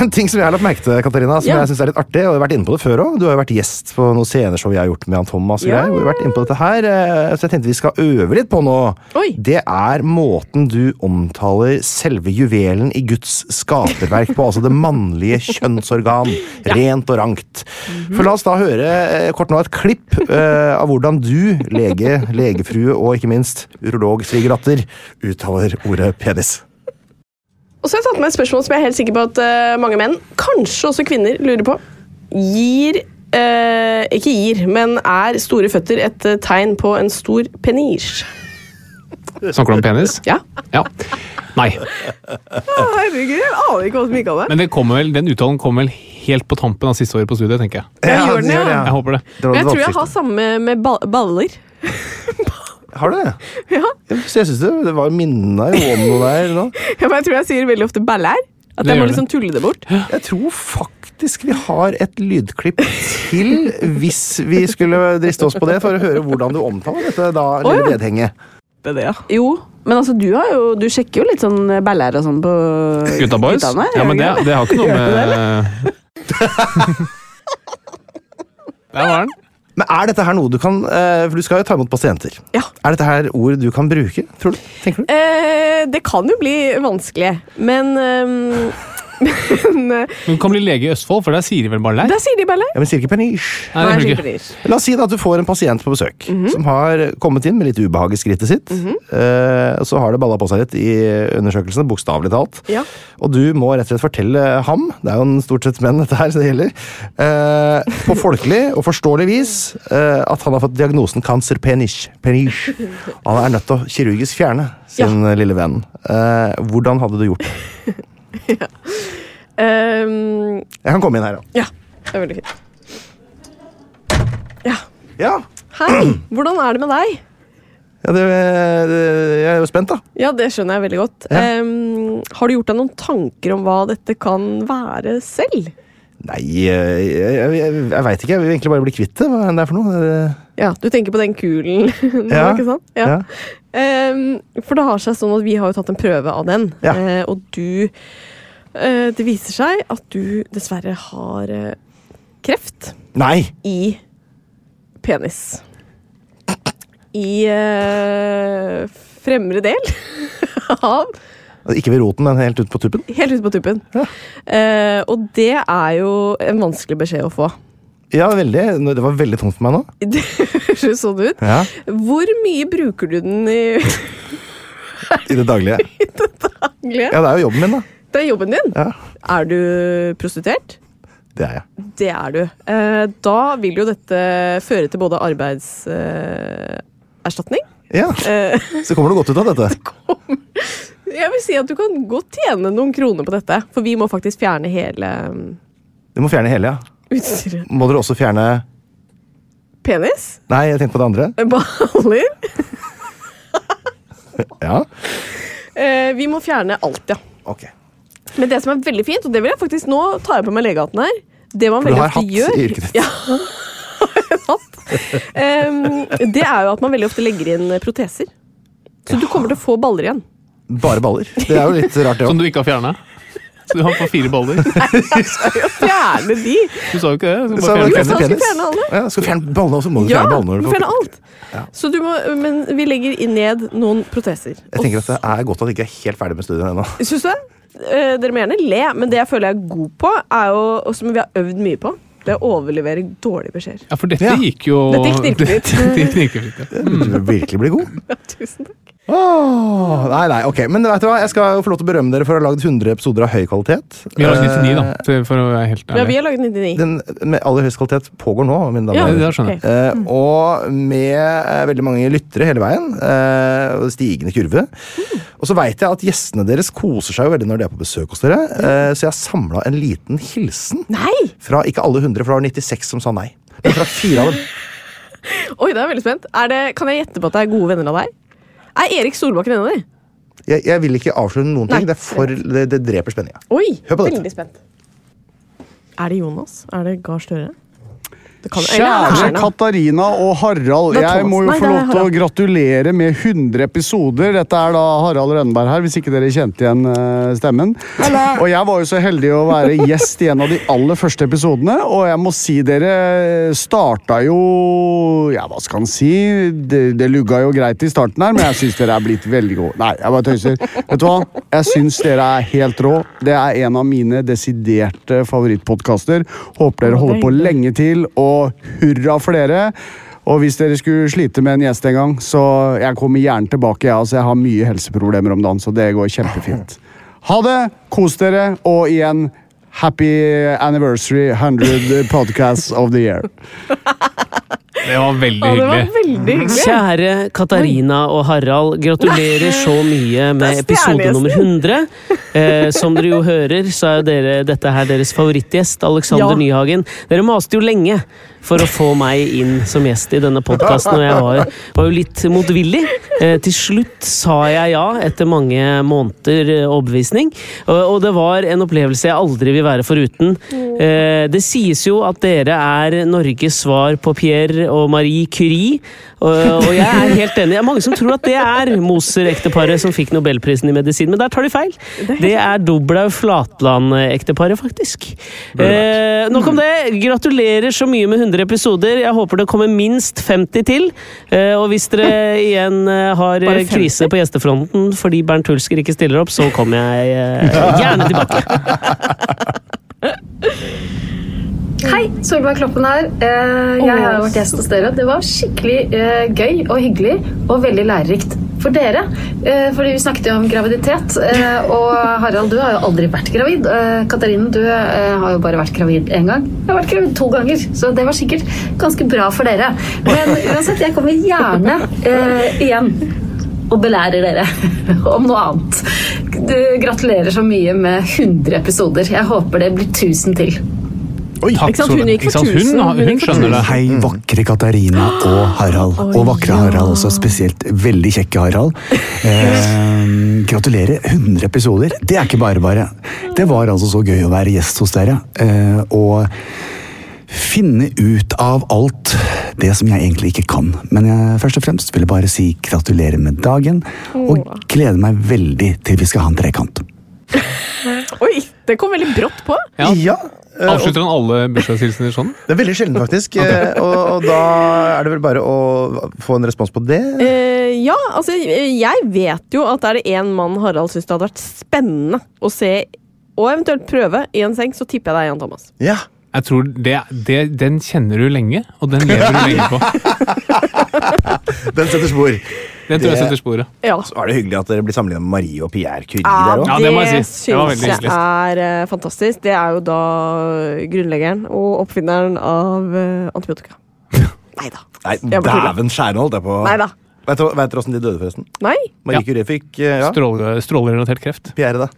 [SPEAKER 4] En ting som jeg har lagt merke til, Katarina, som
[SPEAKER 2] Ja.
[SPEAKER 4] jeg synes er litt artig, og jeg har vært inne på det før også. Du har jo vært gjest på noen sceneshow jeg har gjort med Jan Thomas. og
[SPEAKER 2] Ja.
[SPEAKER 4] greier. Vi har vært inne på dette her, eh, Så jeg tenkte vi skal øve litt på nå.
[SPEAKER 2] Oi.
[SPEAKER 4] Det er måten du omtaler selve juvelen i Guds skaperverk på. altså det mannlige kjønnsorgan. Rent og rankt.
[SPEAKER 2] Mhm.
[SPEAKER 4] For La oss da høre eh, kort nå et klipp eh, av hvordan du, lege, legefrue og ikke minst urolog svigerdatter, uttaler ordet penis.
[SPEAKER 5] Og så har jeg tatt med et spørsmål som jeg er helt sikker på at eh, mange menn, kanskje også kvinner, lurer på. Gir eh, Ikke gir, men er store føtter et eh, tegn på en stor penis?
[SPEAKER 3] Snakker du om penis?
[SPEAKER 5] Ja.
[SPEAKER 3] Ja. Nei.
[SPEAKER 2] Herregud, jeg aner ikke hva som gikk av meg.
[SPEAKER 3] Men det kommer vel, den uttalen kommer vel helt på tampen av siste året på studiet, tenker jeg.
[SPEAKER 4] Ja,
[SPEAKER 2] gjør den,
[SPEAKER 4] det
[SPEAKER 2] ja.
[SPEAKER 4] det,
[SPEAKER 3] Jeg håper det.
[SPEAKER 4] Det var
[SPEAKER 2] Men jeg
[SPEAKER 4] litt
[SPEAKER 2] tror jeg
[SPEAKER 4] oppsikten.
[SPEAKER 2] har samme med ba- baller.
[SPEAKER 4] Har du det?
[SPEAKER 2] Ja.
[SPEAKER 4] Så jeg synes det, det var minna jo om noe der nå.
[SPEAKER 2] Ja, men Jeg tror jeg sier veldig ofte baller. At
[SPEAKER 3] Det
[SPEAKER 2] jeg må
[SPEAKER 3] gjør det.
[SPEAKER 2] liksom tulle det bort.
[SPEAKER 4] Jeg tror faktisk vi har et lydklipp til, hvis vi skulle driste oss på det, for å høre hvordan du omtaler dette da,
[SPEAKER 2] ja.
[SPEAKER 4] lille vedhenget.
[SPEAKER 2] Jo, Men altså, du, har jo, du sjekker jo litt sånn baller og sånn på
[SPEAKER 3] Gutta boys?
[SPEAKER 2] guttene her,
[SPEAKER 3] Ja,
[SPEAKER 2] gjør
[SPEAKER 3] men
[SPEAKER 2] du
[SPEAKER 3] det,
[SPEAKER 2] ikke
[SPEAKER 3] det har ikke noe med Der var den.
[SPEAKER 4] Men er dette her noe du kan eh, For du skal jo ta imot pasienter.
[SPEAKER 2] Ja.
[SPEAKER 4] Er dette her ord du kan bruke, tror du? Tenker du?
[SPEAKER 2] Eh, det kan jo bli vanskelig, men ehm, Men eh,
[SPEAKER 3] Hun kan bli lege i Østfold, for der sier de vel bare lei?
[SPEAKER 2] der sier de baller.
[SPEAKER 4] Ja, men sier ikke penisj.
[SPEAKER 3] Nei, det gjør de ikke.
[SPEAKER 4] La oss si da at du får en pasient på besøk som har kommet inn med litt ubehag i skrittet sitt. eh, og så har det balla på seg litt i undersøkelsen, bokstavelig talt.
[SPEAKER 2] Ja.
[SPEAKER 4] Og du må rett og slett fortelle ham, det er jo en stort sett menn dette her, så det gjelder, eh, på folkelig og forståelig vis eh, at han har fått diagnosen cancer penis. penis. Han er nødt til å kirurgisk fjerne sin lille venn. Eh, hvordan hadde du gjort det?
[SPEAKER 2] Ehm,
[SPEAKER 4] Jeg kan komme inn her, ja.
[SPEAKER 2] ja, det er veldig fint. Ja.
[SPEAKER 4] Ja,
[SPEAKER 2] Hei, hvordan er det med deg?
[SPEAKER 4] ja det, det, jeg er jo spent, da.
[SPEAKER 2] Ja, det skjønner jeg veldig godt.
[SPEAKER 4] Ja.
[SPEAKER 2] Ehm, har du gjort deg noen tanker om hva dette kan være selv?
[SPEAKER 4] Nei, jeg, jeg, jeg, jeg veit ikke. Jeg vil egentlig bare bli kvitt det. Hva er det for noe? Det-
[SPEAKER 2] Ja, du tenker på den kulen nå,
[SPEAKER 4] Ja,
[SPEAKER 2] ikke sant?
[SPEAKER 4] Ja.
[SPEAKER 2] Ehm, for det har seg sånn at vi har jo tatt en prøve av den,
[SPEAKER 4] Ja.
[SPEAKER 2] Eh, og du eh, Det viser seg at du dessverre har eh, kreft
[SPEAKER 4] Nei!
[SPEAKER 2] i penis. I eh, fremre del av
[SPEAKER 4] Altså, Ikke ved roten, men helt ut på tuppen.
[SPEAKER 2] Helt ute på tuppen. Eh, og det er jo en vanskelig beskjed å få.
[SPEAKER 4] Ja, veldig. Det var veldig tungt for meg nå.
[SPEAKER 2] Det høres sånn ut.
[SPEAKER 4] Ja,
[SPEAKER 2] Hvor mye bruker du den i
[SPEAKER 4] I det daglige.
[SPEAKER 2] daglig?
[SPEAKER 4] Ja, det er jo jobben min, da.
[SPEAKER 2] Det er jobben din.
[SPEAKER 4] Ja,
[SPEAKER 2] Er du prostituert?
[SPEAKER 4] Det er jeg.
[SPEAKER 2] Det er du. Eh, da vil jo dette føre til både eh, arbeidserstatning
[SPEAKER 4] Ja, Så kommer det godt ut av dette.
[SPEAKER 2] Eh, Jeg vil si at du kan godt tjene noen kroner på dette, for vi må faktisk fjerne hele mm,
[SPEAKER 4] Du må fjerne hele, ja.
[SPEAKER 2] utstyret.
[SPEAKER 4] Må dere også fjerne
[SPEAKER 2] Penis?
[SPEAKER 4] Nei, jeg tenkte på det andre.
[SPEAKER 2] Baller?
[SPEAKER 4] Ja,
[SPEAKER 2] Eh, vi må fjerne alt, ja.
[SPEAKER 4] ok.
[SPEAKER 2] Men det som er veldig fint, og det vil jeg faktisk nå ta jeg på meg legehatten her det man
[SPEAKER 4] For du
[SPEAKER 2] veldig
[SPEAKER 4] har
[SPEAKER 2] ofte
[SPEAKER 4] hatt i
[SPEAKER 2] gjør,
[SPEAKER 4] yrket ditt.
[SPEAKER 2] Ja, hatt. Em, det er jo at man veldig ofte legger inn proteser. Så du kommer til å få baller igjen.
[SPEAKER 4] Bare baller. Det er jo litt rart, det
[SPEAKER 3] Som
[SPEAKER 4] òg.
[SPEAKER 3] du ikke har fjerna? Så du har på fire baller? Du
[SPEAKER 2] Fjerne de!
[SPEAKER 3] sa jo ikke det. Så
[SPEAKER 4] Så
[SPEAKER 3] bare fjerne
[SPEAKER 4] jeg fjerne
[SPEAKER 2] skal
[SPEAKER 4] penis.
[SPEAKER 2] fjerne alle.
[SPEAKER 4] Ja, skal du fjerne ballene, og så må du
[SPEAKER 2] Ja,
[SPEAKER 4] fjerne
[SPEAKER 2] du
[SPEAKER 4] ballene.
[SPEAKER 2] må fjerne alt. Så du må, men vi legger i- ned noen proteser.
[SPEAKER 4] Jeg tenker at det er godt at jeg ikke er helt ferdig med studiet ennå.
[SPEAKER 2] Syns du det? Eh, Dere må gjerne le, men det jeg føler jeg er god på, er jo, og som vi har øvd mye på, det er å overlevere dårlige beskjeder.
[SPEAKER 3] Ja, for dette
[SPEAKER 4] Ja.
[SPEAKER 3] gikk jo
[SPEAKER 2] Dette gikk knirkefritt.
[SPEAKER 3] Dette gikk knirkefritt, ja. Mm.
[SPEAKER 4] Du vil virkelig bli god.
[SPEAKER 2] Tusen takk.
[SPEAKER 4] Åh, nei, nei, ok. Men vet du hva? jeg skal jo få lov til å berømme dere for å ha lagd 100 episoder av høy kvalitet.
[SPEAKER 3] Vi har 99, da,
[SPEAKER 4] Eh,
[SPEAKER 3] for- for å være helt
[SPEAKER 2] Ja, vi
[SPEAKER 3] ærlig.
[SPEAKER 2] har laget 99.
[SPEAKER 4] Den med aller høyest kvalitet pågår nå, mine damer
[SPEAKER 3] Ja,
[SPEAKER 4] og herrer.
[SPEAKER 3] det skjønner jeg.
[SPEAKER 2] Ok.
[SPEAKER 4] Eh, og med eh, veldig mange lyttere hele veien. eh, og stigende kurve. Og så veit jeg at gjestene deres koser seg jo veldig når de er på besøk hos dere. eh, så jeg har samla en liten hilsen
[SPEAKER 2] Nei!
[SPEAKER 4] fra ikke alle 100, for det var 96 som sa nei. Men fra fire av dem.
[SPEAKER 2] Oi, da er jeg veldig spent. Er det, kan jeg gjette på at det er gode venner av deg? Er Erik Solbakken en av dem?
[SPEAKER 4] Jeg, jeg vil ikke avsløre noen ting.
[SPEAKER 2] Nei.
[SPEAKER 4] Det, er for, det, det dreper spenninga.
[SPEAKER 2] Oi,
[SPEAKER 4] Hør på dette.
[SPEAKER 2] veldig spent. Er det Jonas? Er det Gahr Støre? Det kan- eller er det
[SPEAKER 6] Kjære
[SPEAKER 2] Erna?
[SPEAKER 6] Katarina og Harald.
[SPEAKER 2] Det er
[SPEAKER 6] Jeg
[SPEAKER 2] Thomas.
[SPEAKER 6] må jo
[SPEAKER 2] Nei,
[SPEAKER 6] få
[SPEAKER 2] det er
[SPEAKER 6] lov til å
[SPEAKER 2] Harald.
[SPEAKER 6] gratulere med 100 episoder. Dette er da Harald Rønneberg her, hvis ikke dere kjente igjen eh, stemmen. Og jeg var jo så heldig å være gjest i en av de aller første episodene, og jeg må si dere starta jo Ja, hva skal en si? Det, det lugga jo greit i starten her, men jeg syns dere er blitt veldig gode. Nei, jeg bare tøyser. Vet du hva? Jeg syns dere er helt rå. Det er en av mine desiderte favorittpodkaster. Håper dere holder på lenge til, og hurra for dere. Og hvis dere skulle slite med en gjest en gang, så jeg kommer gjerne tilbake. Jeg, altså, jeg har mye helseproblemer om dagen, så det går kjempefint. Ha det! Kos dere, og igjen happy anniversary 100 podcasts of the year.
[SPEAKER 3] Det var veldig
[SPEAKER 2] Å, det var
[SPEAKER 3] hyggelig.
[SPEAKER 2] veldig hyggelig.
[SPEAKER 7] Kjære Katarina og Harald, gratulerer så mye med
[SPEAKER 2] Det er
[SPEAKER 7] episode nummer 100. Eh, som dere jo hører, så er jo dere, dette her deres favorittgjest, Alexander
[SPEAKER 2] Ja.
[SPEAKER 7] Nyhagen. Dere maste jo lenge for å få meg inn som gjest i denne podkasten, og jeg var, var jo litt motvillig. Eh, til slutt sa jeg ja, etter mange måneder eh, overbevisning, og, og det var en opplevelse jeg aldri vil være foruten. Eh, det sies jo at dere er Norges svar på Pierre og Marie Curie, og, og jeg er helt enig. Det er mange som tror at det er Moser-ekteparet som fikk Nobelprisen i medisin, men der tar de feil. Det er Doblaug Flatland-ekteparet, faktisk. Eh, nok om det. Gratulerer så mye med 100 episoder. Jeg håper det kommer minst 50 til. Eh, og hvis dere igjen eh, har
[SPEAKER 2] Bare 50?
[SPEAKER 7] krise på gjestefronten fordi Bernt Hulsker ikke stiller opp, så kommer jeg eh, gjerne tilbake.
[SPEAKER 8] Hei, Solveig Kloppen her. Eh, Jeg har jo vært gjest hos dere. Det var skikkelig eh, gøy og hyggelig og veldig lærerikt for dere. Eh, Fordi vi snakket jo om graviditet, eh, og Harald, du har jo aldri vært gravid. Eh, Katarina, du eh, har jo bare vært gravid én gang. Jeg har vært gravid to ganger, så det var sikkert ganske bra for dere. Men uansett, jeg kommer gjerne eh, igjen og belærer dere om noe annet. Du, gratulerer så mye med 100 episoder. Jeg håper det blir 1000 til.
[SPEAKER 3] Takk,
[SPEAKER 8] Ikke sant, hun
[SPEAKER 3] Solveig.
[SPEAKER 8] gikk for
[SPEAKER 3] Ikke sant, hun-
[SPEAKER 8] 1000, hun
[SPEAKER 3] Hun
[SPEAKER 8] gikk for
[SPEAKER 3] skjønner det.
[SPEAKER 9] Hei, vakre Katarina og Harald. Og vakre Harald også, spesielt veldig kjekke Harald. Eh, gratulerer. 100 episoder. Det er ikke bare bare. Det var altså så gøy å være gjest hos dere. Eh, og finne ut av alt det som jeg egentlig ikke kan. Men jeg først og fremst vil jeg bare si gratulerer med dagen, og gleder meg veldig til vi skal ha en trekant.
[SPEAKER 2] Oi, det kom veldig brått på.
[SPEAKER 3] Ja.
[SPEAKER 4] eh,
[SPEAKER 3] Avslutter han alle bursdagshilsener sånn?
[SPEAKER 4] Det er veldig sjelden, faktisk. eh, og, og da er det vel bare å få en respons på det.
[SPEAKER 2] Eh, ja, altså, eh, jeg vet jo at er det én mann Harald syns det hadde vært spennende å se, og eventuelt prøve, i en seng, så tipper jeg det er Jan Thomas.
[SPEAKER 3] Jeg tror det, det, Den kjenner du lenge, og den lever du lenge på.
[SPEAKER 4] Den setter spor.
[SPEAKER 3] Den tror jeg
[SPEAKER 4] Det-
[SPEAKER 3] setter sporet.
[SPEAKER 4] Så er det hyggelig at dere blir sammenlignet med Marie og Pierre Curie der òg.
[SPEAKER 2] det syns jeg er eh, fantastisk. Det er jo da grunnleggeren og oppfinneren av eh, antibiotika.
[SPEAKER 4] Nei,
[SPEAKER 2] Jeg bare tuller.
[SPEAKER 4] dæven skjære, holdt jeg på
[SPEAKER 2] Nei da.
[SPEAKER 4] Vet du- vet dere åssen de døde, forresten?
[SPEAKER 2] Nei?
[SPEAKER 4] Marie Curie fikk eh, ja.
[SPEAKER 3] Stråle, strålerelatert kreft.
[SPEAKER 4] Pierre, da?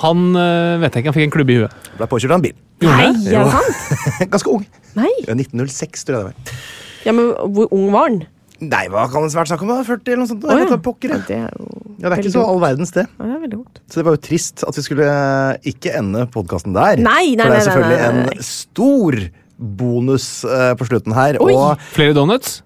[SPEAKER 3] Han øh, vet jeg ikke, han fikk en klubbe i huet.
[SPEAKER 4] Ble påkjørt av en bil.
[SPEAKER 2] Nei,
[SPEAKER 3] det?
[SPEAKER 2] er
[SPEAKER 4] Jo.
[SPEAKER 2] det sant?
[SPEAKER 4] Ganske ung.
[SPEAKER 2] Nei.
[SPEAKER 4] Ja, 1906, tror jeg det var.
[SPEAKER 2] Ja, men hvor ung var han?
[SPEAKER 4] Nei, hva kan det svært snakke om? da? 40 eller noe sånt? da?
[SPEAKER 2] Å, ja.
[SPEAKER 4] Jeg tar pokker, jeg.
[SPEAKER 2] Det er jo
[SPEAKER 4] Ja, det er
[SPEAKER 2] veldig
[SPEAKER 4] ikke så all
[SPEAKER 2] dumt.
[SPEAKER 4] verdens, det.
[SPEAKER 2] Ja, det er veldig dumt.
[SPEAKER 4] Så det var jo trist at vi skulle eh, ikke ende podkasten der.
[SPEAKER 2] Nei, nei,
[SPEAKER 4] For det er
[SPEAKER 2] nei, nei,
[SPEAKER 4] selvfølgelig
[SPEAKER 2] nei, nei.
[SPEAKER 4] en stor bonus eh, på slutten her.
[SPEAKER 2] Oi.
[SPEAKER 4] Og
[SPEAKER 3] Flere donuts?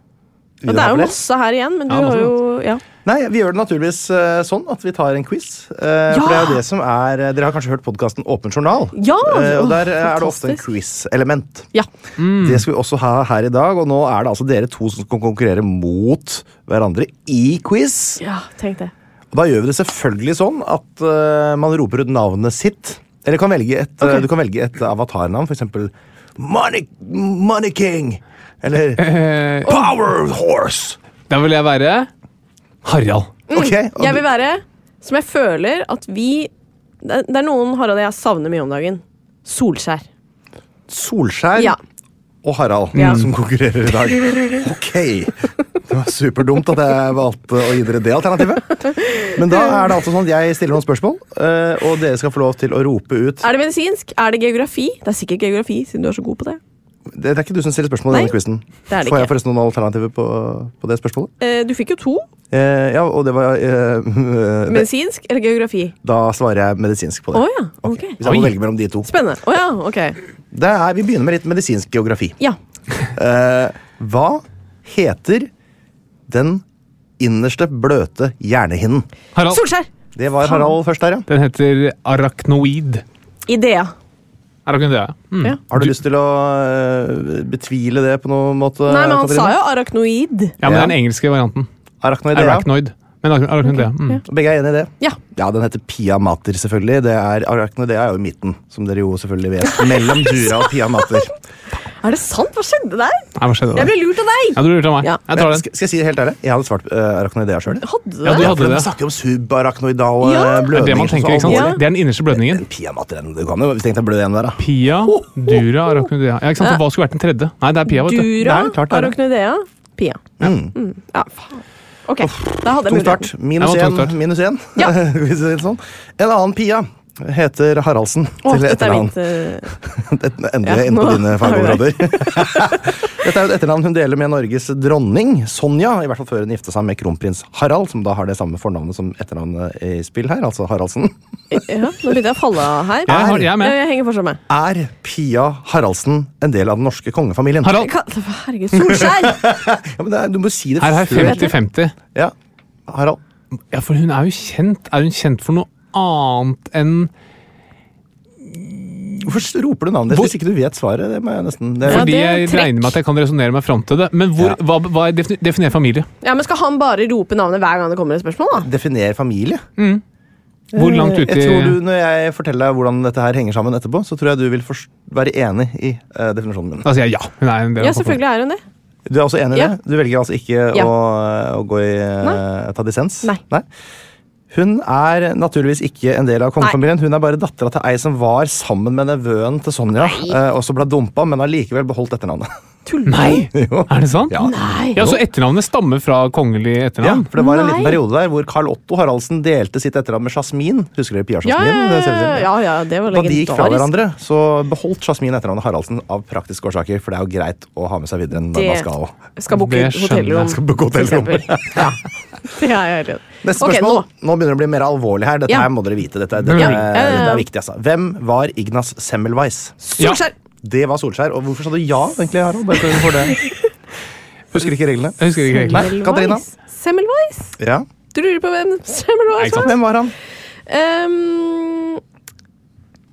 [SPEAKER 2] Ja, det er jo masse her igjen, men du
[SPEAKER 4] Ja, masse
[SPEAKER 2] har jo ja.
[SPEAKER 4] Nei, vi gjør det naturligvis eh, sånn at vi tar en quiz. eh, For det er jo det som er eh, Dere har kanskje hørt podkasten Åpen journal?
[SPEAKER 2] Ja,
[SPEAKER 4] Eh, og
[SPEAKER 2] åh,
[SPEAKER 4] der er det ofte en
[SPEAKER 2] fantastisk.
[SPEAKER 4] quiz-element.
[SPEAKER 2] Ja.
[SPEAKER 4] Det skal vi også ha her i dag, og nå er det altså dere to som skal konkurrere mot hverandre i quiz.
[SPEAKER 2] ja, tenk det.
[SPEAKER 4] Og da gjør vi det selvfølgelig sånn at eh, man roper ut navnet sitt. Eller kan velge et, eh, du kan velge et avatarnavn, f.eks. Money, Money King. Eller Power Horse.
[SPEAKER 3] Da vil jeg være Harald.
[SPEAKER 4] Ok, og
[SPEAKER 2] Mm, Jeg
[SPEAKER 4] du-
[SPEAKER 2] vil være som jeg føler at vi Det det er noen Harald og jeg savner mye om dagen. Solskjær.
[SPEAKER 4] Solskjær
[SPEAKER 2] Ja.
[SPEAKER 4] og Harald
[SPEAKER 2] Ja.
[SPEAKER 4] som konkurrerer i dag. Ok! Det var superdumt at jeg valgte å gi dere det alternativet. Men da er det altså sånn at jeg stiller noen spørsmål, eh, og dere skal få lov til å rope ut
[SPEAKER 2] Er det medisinsk? Er det geografi? Det er sikkert geografi, siden du er så god på det.
[SPEAKER 4] Det er ikke du som stiller spørsmål i
[SPEAKER 2] Nei,
[SPEAKER 4] denne quizen.
[SPEAKER 2] det er det
[SPEAKER 4] Får jeg
[SPEAKER 2] ikke.
[SPEAKER 4] forresten noen alternativer på, på det spørsmålet?
[SPEAKER 2] Eh, Du fikk jo to.
[SPEAKER 4] Eh, ja, og det var eh, det,
[SPEAKER 2] Medisinsk eller geografi?
[SPEAKER 4] Da svarer jeg medisinsk på
[SPEAKER 2] Å
[SPEAKER 4] det.
[SPEAKER 2] ja, ok.
[SPEAKER 4] Hvis jeg
[SPEAKER 2] Oi.
[SPEAKER 4] må velge mellom de to.
[SPEAKER 2] Spennende. Å ja, ok.
[SPEAKER 4] Det er, vi begynner med litt medisinsk geografi.
[SPEAKER 2] Ja.
[SPEAKER 4] Eh, hva heter den innerste bløte hjernehinnen?
[SPEAKER 3] Harald.
[SPEAKER 2] Solskjær!
[SPEAKER 4] Det var Harald først der, ja.
[SPEAKER 3] Den heter arachnoid.
[SPEAKER 2] Idea.
[SPEAKER 3] Arachnoidea. Mm.
[SPEAKER 2] Ja.
[SPEAKER 4] Har du lyst til å eh, betvile det på noen måte?
[SPEAKER 2] Nei, men han sa jo arachnoid.
[SPEAKER 3] Ja, men det er den engelske varianten.
[SPEAKER 4] Arachnoidea.
[SPEAKER 3] Arachnoid. Men arach- arachnoidea. Mm.
[SPEAKER 4] Begge er enig i det?
[SPEAKER 2] Ja.
[SPEAKER 4] Ja, Den heter Pia Mater, selvfølgelig. Det er, arachnoidea er jo i midten, som dere jo selvfølgelig vet. Mellom Dura og Pia Mater.
[SPEAKER 2] Er det sant? Hva skjedde der?
[SPEAKER 3] Nei, hva skjedde
[SPEAKER 2] Jeg
[SPEAKER 3] der?
[SPEAKER 2] ble lurt av deg!
[SPEAKER 3] Ja, du lurte meg.
[SPEAKER 2] Ja.
[SPEAKER 3] Jeg tar den.
[SPEAKER 4] Skal, skal jeg si det helt ærlig? Jeg hadde svart uh, arachnoidea sjøl.
[SPEAKER 2] Hadde du
[SPEAKER 3] Ja,
[SPEAKER 2] det?
[SPEAKER 3] du
[SPEAKER 4] Ja,
[SPEAKER 3] hadde
[SPEAKER 4] for de
[SPEAKER 3] det.
[SPEAKER 4] snakker om subarachnoidal
[SPEAKER 2] Ja.
[SPEAKER 4] eh,
[SPEAKER 3] Det
[SPEAKER 4] blødning.
[SPEAKER 3] er det man
[SPEAKER 4] som
[SPEAKER 3] tenker, ikke
[SPEAKER 4] så
[SPEAKER 3] sant?
[SPEAKER 4] alvorlig.
[SPEAKER 3] Det er den innerste blødningen.
[SPEAKER 4] Pia Mater, den- du kan jo hvis tenkt deg blød igjen der, da.
[SPEAKER 3] Pia, dura, arachnoidea. Ja, ikke sant? For hva skulle vært den tredje? Nei, det er pia, vet du.
[SPEAKER 2] Dura,
[SPEAKER 4] Det er klart det er det.
[SPEAKER 2] arachnoidea, pia.
[SPEAKER 4] Mm.
[SPEAKER 2] Mm. Ja, faen. Ok, da hadde jeg muligheten.
[SPEAKER 4] Tung start. Minus
[SPEAKER 3] Det var tung
[SPEAKER 4] én.
[SPEAKER 3] start.
[SPEAKER 4] Minus én.
[SPEAKER 2] Ja.
[SPEAKER 4] Hvis det er sånn. En annen Pia Heter Haraldsen
[SPEAKER 2] Å,
[SPEAKER 4] til
[SPEAKER 2] dette er
[SPEAKER 4] etternavn.
[SPEAKER 2] mitt eh,
[SPEAKER 4] Dette- Endelig
[SPEAKER 2] Ja,
[SPEAKER 4] inne på
[SPEAKER 2] nå
[SPEAKER 4] dine
[SPEAKER 2] har vi
[SPEAKER 4] fagområder. Dette er jo et etternavn hun deler med Norges dronning, Sonja. I hvert fall før hun gifta seg med kronprins Harald, som da har det samme fornavnet som etternavnet i spill her, altså Haraldsen.
[SPEAKER 2] Ja, nå begynte jeg å falle av her.
[SPEAKER 4] Jeg har- jeg er med.
[SPEAKER 2] Ja, Jeg henger fortsatt med.
[SPEAKER 4] Er Pia Haraldsen en del av den norske kongefamilien?
[SPEAKER 2] Jeg kan- Herregud, Solskjær!
[SPEAKER 4] Ja, men det er, du må si det
[SPEAKER 3] Her er
[SPEAKER 4] før.
[SPEAKER 3] 50-50.
[SPEAKER 4] Ja. Harald?
[SPEAKER 3] Ja, for hun er jo kjent. Er hun kjent for noe annet enn
[SPEAKER 4] Hvorfor roper du navnet ditt hvis ikke du vet svaret? Det må jeg nesten... det er-
[SPEAKER 3] Fordi jeg regner med at jeg kan resonnere meg fram til det. Men hvor, hva, hva er defin- definer familie?
[SPEAKER 2] Ja, men Skal han bare rope navnet hver gang det kommer et spørsmål? da?
[SPEAKER 4] Definer familie.
[SPEAKER 2] Eh,
[SPEAKER 3] Hvor langt ute
[SPEAKER 4] Jeg
[SPEAKER 3] i
[SPEAKER 4] tror du, Når jeg forteller deg hvordan dette her henger sammen etterpå, så tror jeg du vil forst- være enig i eh, definisjonen min.
[SPEAKER 3] Da sier jeg ja. Hun er en del
[SPEAKER 2] Ja,
[SPEAKER 3] av familien.
[SPEAKER 2] selvfølgelig er hun det.
[SPEAKER 4] Du er også enig i
[SPEAKER 2] Ja.
[SPEAKER 4] det? Du velger altså ikke
[SPEAKER 2] Ja.
[SPEAKER 4] å, å gå i eh, ta dissens?
[SPEAKER 2] Nei.
[SPEAKER 4] Hun er naturligvis ikke en del av kongefamilien. Hun er bare dattera til ei som var sammen med nevøen til Sonja, eh, og så ble dumpa, men har likevel beholdt etternavnet.
[SPEAKER 3] Nei!
[SPEAKER 4] Jo.
[SPEAKER 3] Er det sant?
[SPEAKER 2] Nei.
[SPEAKER 3] Ja, Så etternavnet stammer fra kongelig
[SPEAKER 4] Ja,
[SPEAKER 3] etternavn?
[SPEAKER 4] for det var en liten
[SPEAKER 2] Nei.
[SPEAKER 4] periode der hvor Carl Otto Haraldsen delte sitt etternavn med Jasmin. Husker dere Pia
[SPEAKER 2] Ja,
[SPEAKER 4] Jasmin?
[SPEAKER 2] ja,
[SPEAKER 4] Det ser vi til.
[SPEAKER 2] ja, ja, ja, det var
[SPEAKER 4] Da de gikk fra
[SPEAKER 2] legendarisk.
[SPEAKER 4] hverandre, så beholdt Jasmin etternavnet Haraldsen av praktiske årsaker, for det er jo greit å ha med seg videre. når
[SPEAKER 2] Det-
[SPEAKER 4] man skal også.
[SPEAKER 2] Skal booke
[SPEAKER 3] Det skjønner jeg.
[SPEAKER 2] hotellrom.
[SPEAKER 4] Skal booke
[SPEAKER 2] for
[SPEAKER 4] hotellrom.
[SPEAKER 2] eksempel. Ja, det er jeg enig i.
[SPEAKER 4] Neste
[SPEAKER 2] Ok,
[SPEAKER 4] spørsmål.
[SPEAKER 2] nå.
[SPEAKER 4] nå. begynner det å bli mer alvorlig her. Dette
[SPEAKER 2] Ja.
[SPEAKER 4] her må dere vite. Dette, dette,
[SPEAKER 2] Ja,
[SPEAKER 3] Ja.
[SPEAKER 4] er,
[SPEAKER 2] ja, ja.
[SPEAKER 4] dette er viktig, altså. Hvem var Ignas Semmelweis?
[SPEAKER 3] Ja.
[SPEAKER 2] Solskjær!
[SPEAKER 4] Det var Solskjær. Og hvorfor sa du ja, egentlig, Harald? Bare for- for det. Husker ikke reglene.
[SPEAKER 3] Jeg husker ikke
[SPEAKER 4] Nei,
[SPEAKER 3] egentlig.
[SPEAKER 4] Eh, Katarina.
[SPEAKER 2] Semmelweis?
[SPEAKER 4] Ja.
[SPEAKER 2] Du lurer på hvem Semmelweis var?
[SPEAKER 4] Hvem var han?
[SPEAKER 2] Ehm,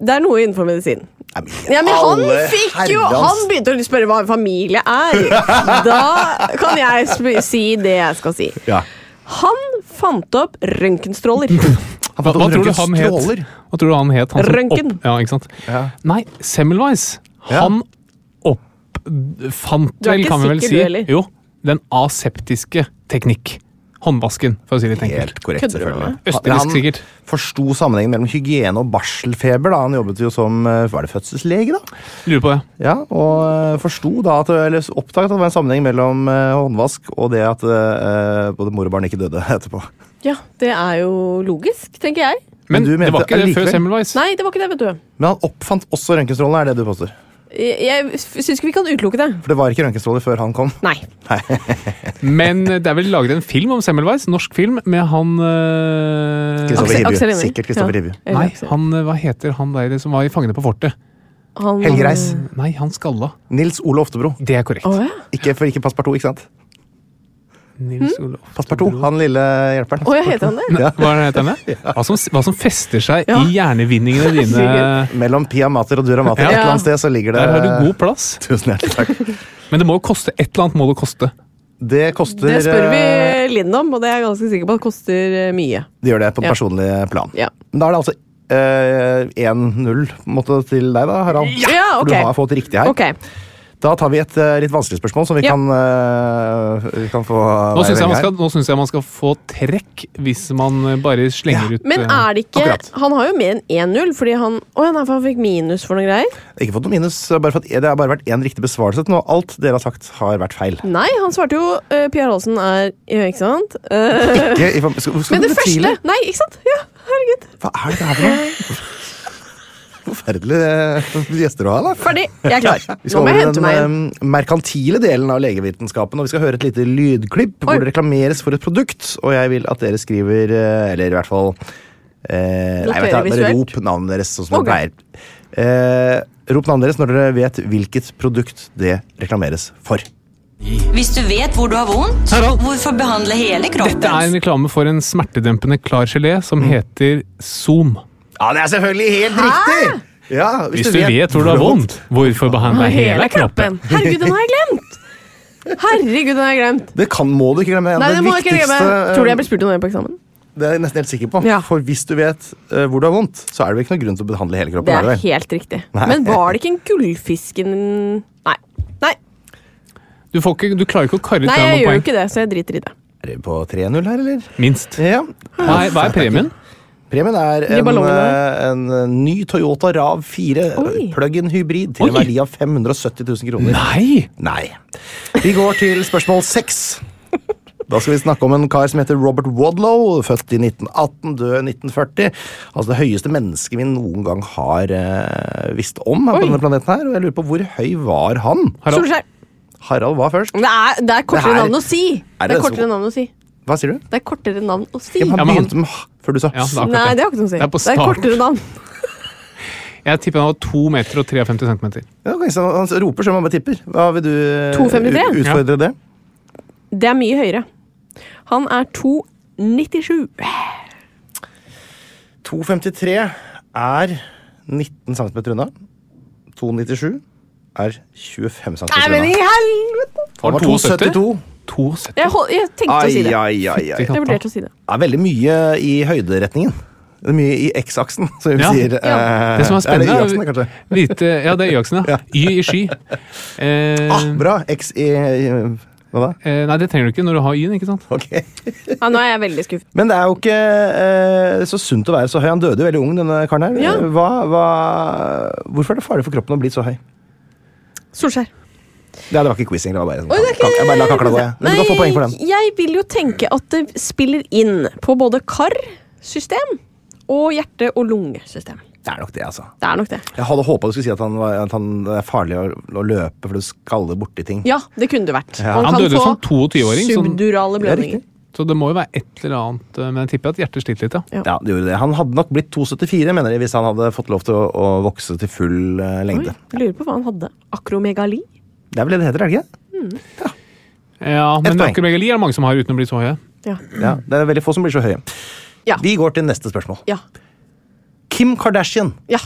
[SPEAKER 2] det er noe innenfor medisin.
[SPEAKER 4] Nei, men-
[SPEAKER 2] Ja, men han
[SPEAKER 4] Alle
[SPEAKER 2] fikk jo
[SPEAKER 4] herrens-
[SPEAKER 2] Han begynte å spørre hva en familie er. Da kan jeg sp- si det jeg skal si.
[SPEAKER 4] Ja.
[SPEAKER 2] Han fant opp røntgenstråler.
[SPEAKER 4] Han
[SPEAKER 3] Hva,
[SPEAKER 4] fant
[SPEAKER 3] hva, tror
[SPEAKER 4] opp
[SPEAKER 3] du
[SPEAKER 4] røntgens
[SPEAKER 3] han het?
[SPEAKER 4] stråler.
[SPEAKER 3] hva tror du han het? Han som
[SPEAKER 2] Røntgen.
[SPEAKER 3] opp- Ja, ikke sant?
[SPEAKER 4] Ja.
[SPEAKER 3] Nei, Semmelweis.
[SPEAKER 4] Ja.
[SPEAKER 3] Han oppfant
[SPEAKER 2] Du er
[SPEAKER 3] vel,
[SPEAKER 2] ikke
[SPEAKER 3] kan vi vel
[SPEAKER 2] sikker,
[SPEAKER 3] si,
[SPEAKER 2] du heller.
[SPEAKER 3] jo, den aseptiske teknikk. Håndvasken, for å si det litt enkelt.
[SPEAKER 4] Helt korrekt,
[SPEAKER 2] Kødder du med
[SPEAKER 4] selvfølgelig.
[SPEAKER 3] Østerriksk,
[SPEAKER 4] Han
[SPEAKER 3] sikkert.
[SPEAKER 4] forsto sammenhengen mellom hygiene og barselfeber. da. Han jobbet jo som eh, var det fødselslege, da.
[SPEAKER 3] Lurer på det.
[SPEAKER 4] Ja, og eh, forsto da at, eller oppdaget at det var en sammenheng mellom eh, håndvask og det at eh, både mor og barn ikke døde etterpå.
[SPEAKER 2] Ja, det er jo logisk, tenker jeg.
[SPEAKER 4] Men
[SPEAKER 3] Men,
[SPEAKER 4] du
[SPEAKER 3] det
[SPEAKER 4] mente
[SPEAKER 3] var ikke det
[SPEAKER 4] allikevel-
[SPEAKER 3] før Semmelweis.
[SPEAKER 2] Nei, det var ikke det, vet du.
[SPEAKER 4] Men han oppfant også røntgenstrålene, er det du påstår?
[SPEAKER 2] Jeg, jeg syns ikke vi kan utelukke det.
[SPEAKER 4] For det var ikke røntgenstråler før han kom.
[SPEAKER 2] Nei.
[SPEAKER 3] Men eh, det er vel laget en film om Semmelweis? Norsk film med han øh,
[SPEAKER 4] Kristoffer
[SPEAKER 2] Aksel-
[SPEAKER 4] Hivju.
[SPEAKER 2] Aksel Hennie.
[SPEAKER 4] Sikkert Kristoffer
[SPEAKER 2] Ja.
[SPEAKER 4] Hivju.
[SPEAKER 2] Eller
[SPEAKER 3] Nei,
[SPEAKER 2] Aksel.
[SPEAKER 3] han, øh, hva heter han der som var i Fangene på fortet?
[SPEAKER 2] Han-
[SPEAKER 4] Helge Reis.
[SPEAKER 3] Nei, han skalla.
[SPEAKER 4] Nils Ole Oftebro.
[SPEAKER 3] Det er korrekt.
[SPEAKER 2] Å ja.
[SPEAKER 4] Ikke, for ikke Passepartout, ikke sant?
[SPEAKER 2] Hm?
[SPEAKER 3] Nils Olof.
[SPEAKER 4] Passepartout, han lille hjelperen.
[SPEAKER 2] Å
[SPEAKER 3] Eh,
[SPEAKER 2] ja, heter han det?
[SPEAKER 3] Nei, Hva er det heter han? det? Hva som, hva som fester seg
[SPEAKER 2] Ja.
[SPEAKER 3] i hjernevindingene dine.
[SPEAKER 4] Eh, Mellom Pia Mater og Dura Mater
[SPEAKER 3] Ja.
[SPEAKER 4] et eller annet sted så ligger det
[SPEAKER 3] Der har du god plass.
[SPEAKER 4] Tusen hjertelig takk.
[SPEAKER 3] Men det må jo koste et eller annet. må Det koste.
[SPEAKER 4] Det koster
[SPEAKER 2] Det spør
[SPEAKER 4] eh,
[SPEAKER 2] vi Linn om, og det er jeg ganske sikker på at koster eh, mye.
[SPEAKER 4] Det gjør det på det
[SPEAKER 2] Ja.
[SPEAKER 4] personlige plan.
[SPEAKER 2] Ja.
[SPEAKER 4] Men da er det altså eh, 1-0 på en måte til deg, da, Harald.
[SPEAKER 2] Ja, ok.
[SPEAKER 4] For du har fått riktig her.
[SPEAKER 2] Ok,
[SPEAKER 4] Da tar vi et eh, litt vanskelig spørsmål som vi
[SPEAKER 2] Ja.
[SPEAKER 4] kan, eh, vi kan få
[SPEAKER 3] Nå syns
[SPEAKER 4] være
[SPEAKER 3] jeg,
[SPEAKER 4] venner
[SPEAKER 3] man
[SPEAKER 4] her.
[SPEAKER 3] skal- nå synes jeg man skal få trekk hvis man øh, bare slenger ut
[SPEAKER 2] Men
[SPEAKER 3] øh,
[SPEAKER 2] er det ikke
[SPEAKER 4] akkurat.
[SPEAKER 2] Han har jo mer enn 1-0, fordi han Å ja, nei, for han fikk minus for noen greier.
[SPEAKER 4] Ikke fått noe minus, bare for at det har bare vært én riktig besvarelse til nå. Alt dere har sagt, har vært feil.
[SPEAKER 2] Nei, han svarte jo uh, Pia Rolsen er ja, Ikke sant? Eh,
[SPEAKER 4] Ikke, i form- skal, skal
[SPEAKER 2] men
[SPEAKER 4] du
[SPEAKER 2] det første!
[SPEAKER 4] betvile?
[SPEAKER 2] Nei, ikke sant? Ja, herregud.
[SPEAKER 4] Hva er det her for noe? Forferdelige eh, gjester å ha, da.
[SPEAKER 2] Ferdig. Jeg er klar.
[SPEAKER 4] Vi
[SPEAKER 2] Nå må
[SPEAKER 4] skal over
[SPEAKER 2] jeg
[SPEAKER 4] i
[SPEAKER 2] hente
[SPEAKER 4] den
[SPEAKER 2] meg igjen.
[SPEAKER 4] eh, merkantile delen av legevitenskapen, og vi skal høre et lite lydklipp
[SPEAKER 2] Oi.
[SPEAKER 4] hvor det reklameres for et produkt, og jeg vil at dere skriver, eh, eller i hvert fall eh, Nei, vet du, hva, dere
[SPEAKER 2] Noterer
[SPEAKER 4] rop navnet deres sånn som
[SPEAKER 2] Ok.
[SPEAKER 4] dere pleier. Eh, rop navnet deres når dere vet hvilket produkt det reklameres for.
[SPEAKER 10] Hvis du vet hvor du har vondt,
[SPEAKER 3] Harald.
[SPEAKER 10] hvorfor behandle hele kroppen?
[SPEAKER 3] Dette er en reklame for en smertedempende klar gelé som
[SPEAKER 2] Mm.
[SPEAKER 3] heter Zoom.
[SPEAKER 4] Ja, det er selvfølgelig helt riktig! Ja,
[SPEAKER 3] Hvis du vet hvor du har vondt, hvorfor
[SPEAKER 4] eh,
[SPEAKER 3] behandle hele kroppen?
[SPEAKER 2] Herregud, den har jeg glemt! Herregud, den har jeg glemt.
[SPEAKER 4] Det kan, må du ikke glemme. Det er
[SPEAKER 2] Nei,
[SPEAKER 4] det
[SPEAKER 2] den må jeg ikke glemme.
[SPEAKER 4] viktigste, eh,
[SPEAKER 2] Tror du jeg blir spurt om det på eksamen?
[SPEAKER 4] Det er jeg nesten helt sikker på.
[SPEAKER 2] Ja.
[SPEAKER 4] For hvis du vet eh, hvor du har vondt, så er det vel ikke noen grunn til å behandle hele kroppen.
[SPEAKER 2] Det
[SPEAKER 4] er
[SPEAKER 2] er
[SPEAKER 4] det vel?
[SPEAKER 2] helt riktig. Men var det ikke en gullfisken Nei. Nei,
[SPEAKER 3] Du, får ikke, du klarer ikke å karre ut
[SPEAKER 2] Nei
[SPEAKER 3] deg
[SPEAKER 2] jeg gjør
[SPEAKER 3] noen
[SPEAKER 2] jo
[SPEAKER 3] poeng.
[SPEAKER 2] ikke det, så jeg driter i det.
[SPEAKER 4] Er det på 3-0 her, eller?
[SPEAKER 3] Minst.
[SPEAKER 4] Ja.
[SPEAKER 3] Hva er, hva er premien?
[SPEAKER 4] Premien er
[SPEAKER 2] De
[SPEAKER 4] en, eh, en
[SPEAKER 2] ballongene.
[SPEAKER 4] eh, ny Toyota Rav 4
[SPEAKER 2] Oi.
[SPEAKER 4] plug-in hybrid til en
[SPEAKER 3] Oi.
[SPEAKER 4] verdi av 570 000 kroner.
[SPEAKER 3] Nei!
[SPEAKER 4] Nei. Vi går til spørsmål 6. Da skal vi snakke om en kar som heter Robert Wadlow, født i 1918, død i 1940. Altså det høyeste mennesket vi noen gang har eh, visst om her på denne planeten her. Og jeg lurer på hvor høy var han?
[SPEAKER 2] Solskjær.
[SPEAKER 4] Harald var først.
[SPEAKER 2] Det er, det er kortere
[SPEAKER 4] Det her-
[SPEAKER 2] navn å si!
[SPEAKER 4] Er
[SPEAKER 2] Det
[SPEAKER 4] det
[SPEAKER 2] er kortere
[SPEAKER 4] så-
[SPEAKER 2] navn å si.
[SPEAKER 4] Hva sier du?
[SPEAKER 2] Det er kortere navn å si.
[SPEAKER 4] Ja, men han begynte med h før du sa
[SPEAKER 3] Ja,
[SPEAKER 4] s.
[SPEAKER 3] akkurat
[SPEAKER 2] Nei, det har ikke noe å si.
[SPEAKER 3] Det er på
[SPEAKER 2] Det er
[SPEAKER 3] starten.
[SPEAKER 2] kortere navn.
[SPEAKER 3] Jeg tipper han var to meter og 53 centimeter.
[SPEAKER 4] Ja, ok, så han roper som han bare tipper. Hva vil du eh,
[SPEAKER 2] 2,53?
[SPEAKER 4] ut- utfordre det?
[SPEAKER 2] Det er mye høyere. Han er 2,97.
[SPEAKER 4] 2,53 er 19 cm unna. 2,97 er 25 cm
[SPEAKER 2] Nei, men i
[SPEAKER 4] unna.
[SPEAKER 2] helvete!
[SPEAKER 4] Han var 2,72.
[SPEAKER 3] 2,70.
[SPEAKER 2] Jeg, hol- jeg tenkte å si det.
[SPEAKER 4] Ai, ai, ai, ai.
[SPEAKER 2] Jeg vurderte å si det.
[SPEAKER 4] Det er veldig mye i høyderetningen. Det er mye i X-aksen, som vi
[SPEAKER 3] Ja.
[SPEAKER 4] sier. eh,
[SPEAKER 3] Det som er spennende,
[SPEAKER 4] er det Y-aksen, kanskje?
[SPEAKER 3] Vite, ja, det er Y-aksen, ja. Y i sky. Eh,
[SPEAKER 4] Ah, bra! X i i- Hva da?
[SPEAKER 3] eh, nei, det trenger du ikke når du har Y-en, ikke sant?
[SPEAKER 4] Ok.
[SPEAKER 2] Ja, nå er jeg veldig skuffet.
[SPEAKER 4] Men det er jo ikke eh, så sunt å være så høy. Han døde jo veldig ung, denne karen her.
[SPEAKER 2] Ja.
[SPEAKER 4] Hva, hva, hvorfor er det farlig for kroppen å bli så høy?
[SPEAKER 2] Solskjær.
[SPEAKER 4] Nei, det var ikke quiz, egentlig. det var Bare,
[SPEAKER 2] Oi, det er
[SPEAKER 4] sånn, kak- jeg bare la kakla gå, jeg. Men du kan få poeng for den.
[SPEAKER 2] jeg vil jo tenke at det spiller inn på både karsystem og hjerte- og lungesystem.
[SPEAKER 4] Det er nok det, altså.
[SPEAKER 2] Det er nok det.
[SPEAKER 4] Jeg hadde håpa du skulle si at han, var, at han det er farlig å, å løpe for du skaller borti ting.
[SPEAKER 2] Ja, det kunne det vært.
[SPEAKER 4] Ja.
[SPEAKER 2] Og
[SPEAKER 3] Han
[SPEAKER 2] kan
[SPEAKER 3] døde
[SPEAKER 2] få
[SPEAKER 3] som 22-åring, sånn-
[SPEAKER 2] Subdurale blødninger.
[SPEAKER 3] Så det må jo være et eller annet eh, Men jeg tipper at hjertet sliter litt, ja.
[SPEAKER 4] Ja, det gjorde det. Han hadde nok blitt 2,74 mener jeg, hvis han hadde fått lov til å, å vokse til full eh, lengde.
[SPEAKER 2] Jeg lurer på hva han hadde. Akromegali?
[SPEAKER 4] Det er vel det det heter, er det ikke?
[SPEAKER 3] ja men
[SPEAKER 4] poeng.
[SPEAKER 3] akromegali er det mange som har uten å bli så høye.
[SPEAKER 2] Ja.
[SPEAKER 4] det? Ja, det er veldig få som blir så høye.
[SPEAKER 2] Ja.
[SPEAKER 4] Vi går til neste spørsmål.
[SPEAKER 2] Ja.
[SPEAKER 4] Kim Kardashian
[SPEAKER 2] ja.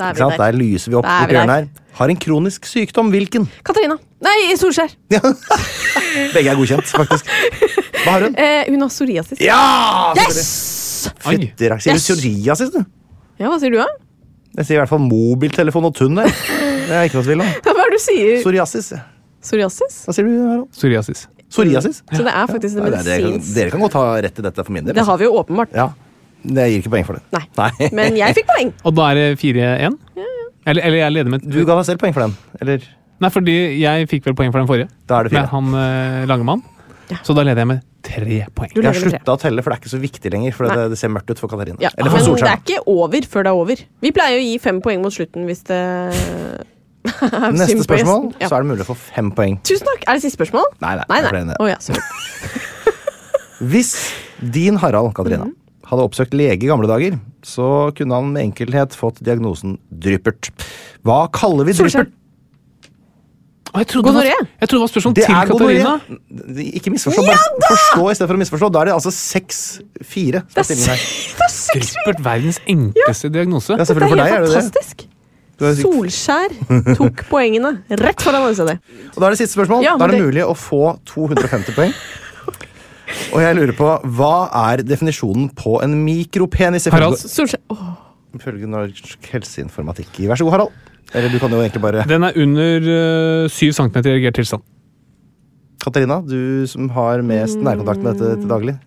[SPEAKER 2] Der
[SPEAKER 4] ikke
[SPEAKER 2] er vi
[SPEAKER 4] sant? Der
[SPEAKER 2] der.
[SPEAKER 4] lyser vi opp
[SPEAKER 2] Da er
[SPEAKER 4] borti
[SPEAKER 2] vi
[SPEAKER 4] hjørnet her. Har en kronisk sykdom. Hvilken?
[SPEAKER 2] Katarina. Nei, Solskjær.
[SPEAKER 4] Begge er godkjent, faktisk. Hva har hun?
[SPEAKER 2] Eh, hun har psoriasis.
[SPEAKER 4] Ja!
[SPEAKER 2] Yes!
[SPEAKER 3] Oi.
[SPEAKER 4] Fytti rakk. Sier du
[SPEAKER 2] Yes!
[SPEAKER 4] psoriasis, du?
[SPEAKER 2] Ja, hva sier du, da?
[SPEAKER 4] Jeg sier i hvert fall mobiltelefon og tunn der. Det er ikke noe tvil om.
[SPEAKER 2] Hva er det du sier?
[SPEAKER 4] Psoriasis. Hva
[SPEAKER 2] Psoriasis?
[SPEAKER 4] sier du, Harald?
[SPEAKER 3] Psoriasis.
[SPEAKER 4] Psoriasis?
[SPEAKER 2] Så det er faktisk
[SPEAKER 4] Nei,
[SPEAKER 2] det
[SPEAKER 4] det er- dere, kan,
[SPEAKER 2] medisinsk
[SPEAKER 4] dere kan godt ha rett i dette for min del. altså.
[SPEAKER 2] Det har vi jo åpenbart.
[SPEAKER 4] Ja. Det gir ikke poeng for det.
[SPEAKER 2] Nei. Men jeg fikk poeng.
[SPEAKER 3] Og da er det 4-1? Eller, eller jeg leder med
[SPEAKER 4] Du ga deg selv poeng for den. Eller
[SPEAKER 3] Nei, fordi jeg fikk vel poeng for den forrige.
[SPEAKER 4] Da er det fire.
[SPEAKER 3] Med han eh, Langemann. Så da leder jeg med tre poeng.
[SPEAKER 2] Du
[SPEAKER 4] Jeg har
[SPEAKER 2] lager det
[SPEAKER 4] slutta å telle, for det er ikke så viktig lenger. For det, det ser mørkt ut for Katarina.
[SPEAKER 2] Ja,
[SPEAKER 4] Eller
[SPEAKER 2] men
[SPEAKER 4] for
[SPEAKER 2] det er
[SPEAKER 4] Solskjær.
[SPEAKER 2] ikke over før det er over. Vi pleier å gi fem poeng mot slutten hvis det er
[SPEAKER 4] Neste
[SPEAKER 2] synd på
[SPEAKER 4] spørsmål,
[SPEAKER 2] gjesten. Ja.
[SPEAKER 4] så er det mulig å få fem poeng.
[SPEAKER 2] Tusen takk! Er det siste spørsmål?
[SPEAKER 4] Nei, nei,
[SPEAKER 2] nei.
[SPEAKER 4] det er
[SPEAKER 2] nei.
[SPEAKER 4] det.
[SPEAKER 2] Å, ja, sorry.
[SPEAKER 4] Hvis din Harald, Katarina,
[SPEAKER 2] Mhm.
[SPEAKER 4] hadde oppsøkt lege i gamle dager, så kunne han med enkelhet fått diagnosen dryppert. Hva kaller vi
[SPEAKER 2] Solskjær.
[SPEAKER 4] dryppert?
[SPEAKER 3] Å, jeg trodde det var-
[SPEAKER 2] Gonoré.
[SPEAKER 3] Jeg trodde det var spørsmål
[SPEAKER 4] Det
[SPEAKER 3] til
[SPEAKER 4] er
[SPEAKER 3] Katarina.
[SPEAKER 4] gonoré. Ikke misforstå, bare forstå i stedet for å misforstå. Da er det altså seks-fire.
[SPEAKER 2] Det er
[SPEAKER 4] stillingen her.
[SPEAKER 2] se- det er seks
[SPEAKER 3] Grippert verdens enkleste diagnose.
[SPEAKER 4] Ja,
[SPEAKER 2] Det
[SPEAKER 4] selvfølgelig
[SPEAKER 2] er
[SPEAKER 4] for deg er
[SPEAKER 2] helt
[SPEAKER 4] det det.
[SPEAKER 2] fantastisk.
[SPEAKER 4] Du er syk.
[SPEAKER 2] Solskjær tok poengene rett foran øynene dine.
[SPEAKER 4] Og da er det siste spørsmål.
[SPEAKER 2] Ja,
[SPEAKER 4] da er
[SPEAKER 2] men
[SPEAKER 4] det,
[SPEAKER 2] det-
[SPEAKER 4] mulig å få 250 poeng. Og jeg lurer på, hva er definisjonen på en mikropenis? ifølge-
[SPEAKER 3] Harald.
[SPEAKER 2] Solskjær Åh,
[SPEAKER 4] Ifølge Norsk helseinformatikk. Vær så god, Harald. Eller du kan jo egentlig bare
[SPEAKER 3] Den er under eh, 7 cm i erigert tilstand.
[SPEAKER 4] Katarina, du som har mest nærkontakt med dette til daglig.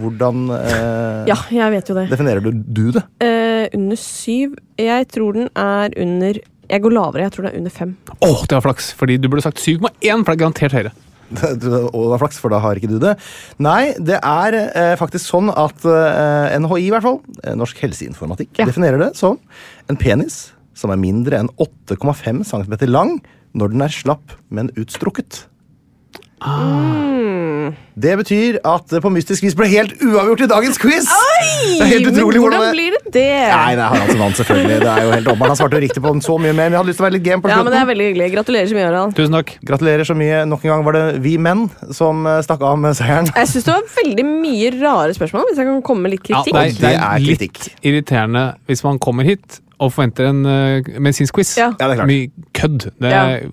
[SPEAKER 4] Hvordan eh,
[SPEAKER 2] Ja, jeg vet jo det.
[SPEAKER 4] definerer du, du det?
[SPEAKER 2] Eh, under syv Jeg tror den er under Jeg går lavere. Jeg tror den er under fem.
[SPEAKER 3] Åh, det var flaks! Fordi du burde sagt 7,1, for det er garantert høyere.
[SPEAKER 4] Og det var flaks, for da har ikke du det. Nei, det er eh, faktisk sånn at eh, NHI, i hvert fall, eh, Norsk helseinformatikk,
[SPEAKER 2] Ja.
[SPEAKER 4] definerer det som en penis som er mindre enn 8,5 cm lang når den er slapp, men utstrukket.
[SPEAKER 2] Ah.
[SPEAKER 4] Det betyr at det på mystisk vis ble helt uavgjort i dagens quiz! Det er helt
[SPEAKER 2] Men
[SPEAKER 4] utrolig
[SPEAKER 2] hvordan
[SPEAKER 4] hvordan det
[SPEAKER 2] blir det det?
[SPEAKER 4] Nei, det er Harald som vant, selvfølgelig. Det er jo helt åpenbart. Han svarte jo riktig på den så mye mer, men jeg hadde lyst til å være litt game på
[SPEAKER 2] Ja, men det
[SPEAKER 4] slutten.
[SPEAKER 2] er veldig hyggelig. Gratulerer så mye, Harald.
[SPEAKER 3] Tusen takk.
[SPEAKER 4] Gratulerer så mye. Nok en gang var det vi menn som eh, stakk av med seieren.
[SPEAKER 2] Jeg syns det var veldig mye rare spørsmål, hvis jeg kan komme med litt
[SPEAKER 3] Ja,
[SPEAKER 2] kritikk.
[SPEAKER 3] det, er, det
[SPEAKER 4] Det er
[SPEAKER 3] er litt
[SPEAKER 4] kritikk.
[SPEAKER 3] irriterende hvis man kommer hit og forventer en eh, medisinsk quiz.
[SPEAKER 2] Ja.
[SPEAKER 4] Ja, det er klart.
[SPEAKER 3] Mye kødd. Det er,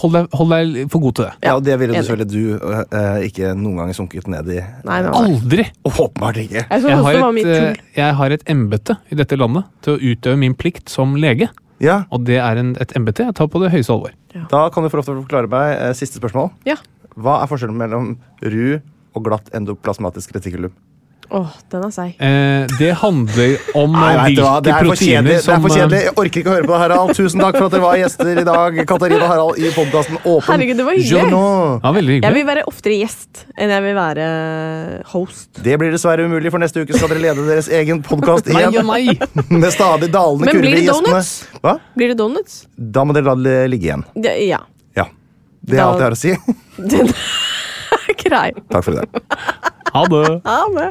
[SPEAKER 3] hold, deg, hold deg for god til det.
[SPEAKER 4] Ja, og det ville du
[SPEAKER 2] enig.
[SPEAKER 4] selvfølgelig du eh, ikke noen gang sunket ned i.
[SPEAKER 2] Nei, nei, nei.
[SPEAKER 3] Aldri!
[SPEAKER 4] Åpenbart ikke.
[SPEAKER 2] Jeg
[SPEAKER 3] Jeg
[SPEAKER 2] synes også
[SPEAKER 3] har
[SPEAKER 2] det var
[SPEAKER 3] et,
[SPEAKER 2] mye tull.
[SPEAKER 3] eh, jeg har et embete i dette landet til å utøve min plikt som lege.
[SPEAKER 4] Ja,
[SPEAKER 3] Og det er en, et embete jeg tar på det høyeste alvor.
[SPEAKER 4] Da kan du få lov til å forklare meg eh, siste spørsmål.
[SPEAKER 2] Ja.
[SPEAKER 4] Hva er forskjellen mellom ru og glatt endoplasmatisk retikulum?
[SPEAKER 2] Åh, den er seig.
[SPEAKER 3] Eh, det handler om
[SPEAKER 4] Nei,
[SPEAKER 3] eh,
[SPEAKER 4] vet du hva?
[SPEAKER 3] hvilke
[SPEAKER 4] Det er for kjedelig.
[SPEAKER 3] proteiner
[SPEAKER 4] Det er
[SPEAKER 3] som
[SPEAKER 4] for kjedelig.
[SPEAKER 3] eh,
[SPEAKER 4] Jeg orker ikke å høre på det, Harald. Tusen takk for at dere var gjester i dag. Katarina og Harald i podkasten Åpen.
[SPEAKER 2] Herregud, det var hyggelig.
[SPEAKER 4] Journal.
[SPEAKER 3] Ja, veldig
[SPEAKER 2] Jeg vil være oftere gjest enn jeg vil være eh, host.
[SPEAKER 4] Det blir dessverre umulig, for neste uke skal dere lede deres egen podkast
[SPEAKER 2] Nei
[SPEAKER 4] igjen.
[SPEAKER 2] og nei.
[SPEAKER 4] Med stadig dalende
[SPEAKER 2] Men blir
[SPEAKER 4] kurve i
[SPEAKER 2] det
[SPEAKER 4] gjestene.
[SPEAKER 2] donuts?
[SPEAKER 4] Hva?
[SPEAKER 2] Blir det donuts?
[SPEAKER 4] Da må dere la det ligge igjen.
[SPEAKER 2] Det, ja.
[SPEAKER 4] Ja. Det er
[SPEAKER 2] Da-
[SPEAKER 4] alt jeg har å si.
[SPEAKER 2] Den er grei.
[SPEAKER 4] Takk for i dag.
[SPEAKER 3] Ha det.
[SPEAKER 2] Ha det.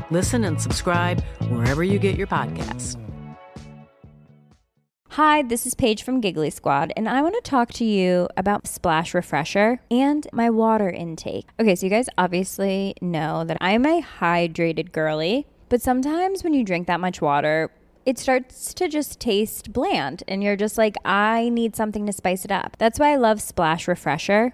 [SPEAKER 11] Listen and subscribe wherever you get your podcasts.
[SPEAKER 12] Hi, this is Paige from Giggly Squad, and I want to talk to you about Splash Refresher and my water intake. Okay, so you guys obviously know that I'm a hydrated girly, but sometimes when you drink that much water, it starts to just taste bland, and you're just like, I need something to spice it up. That's why I love Splash Refresher.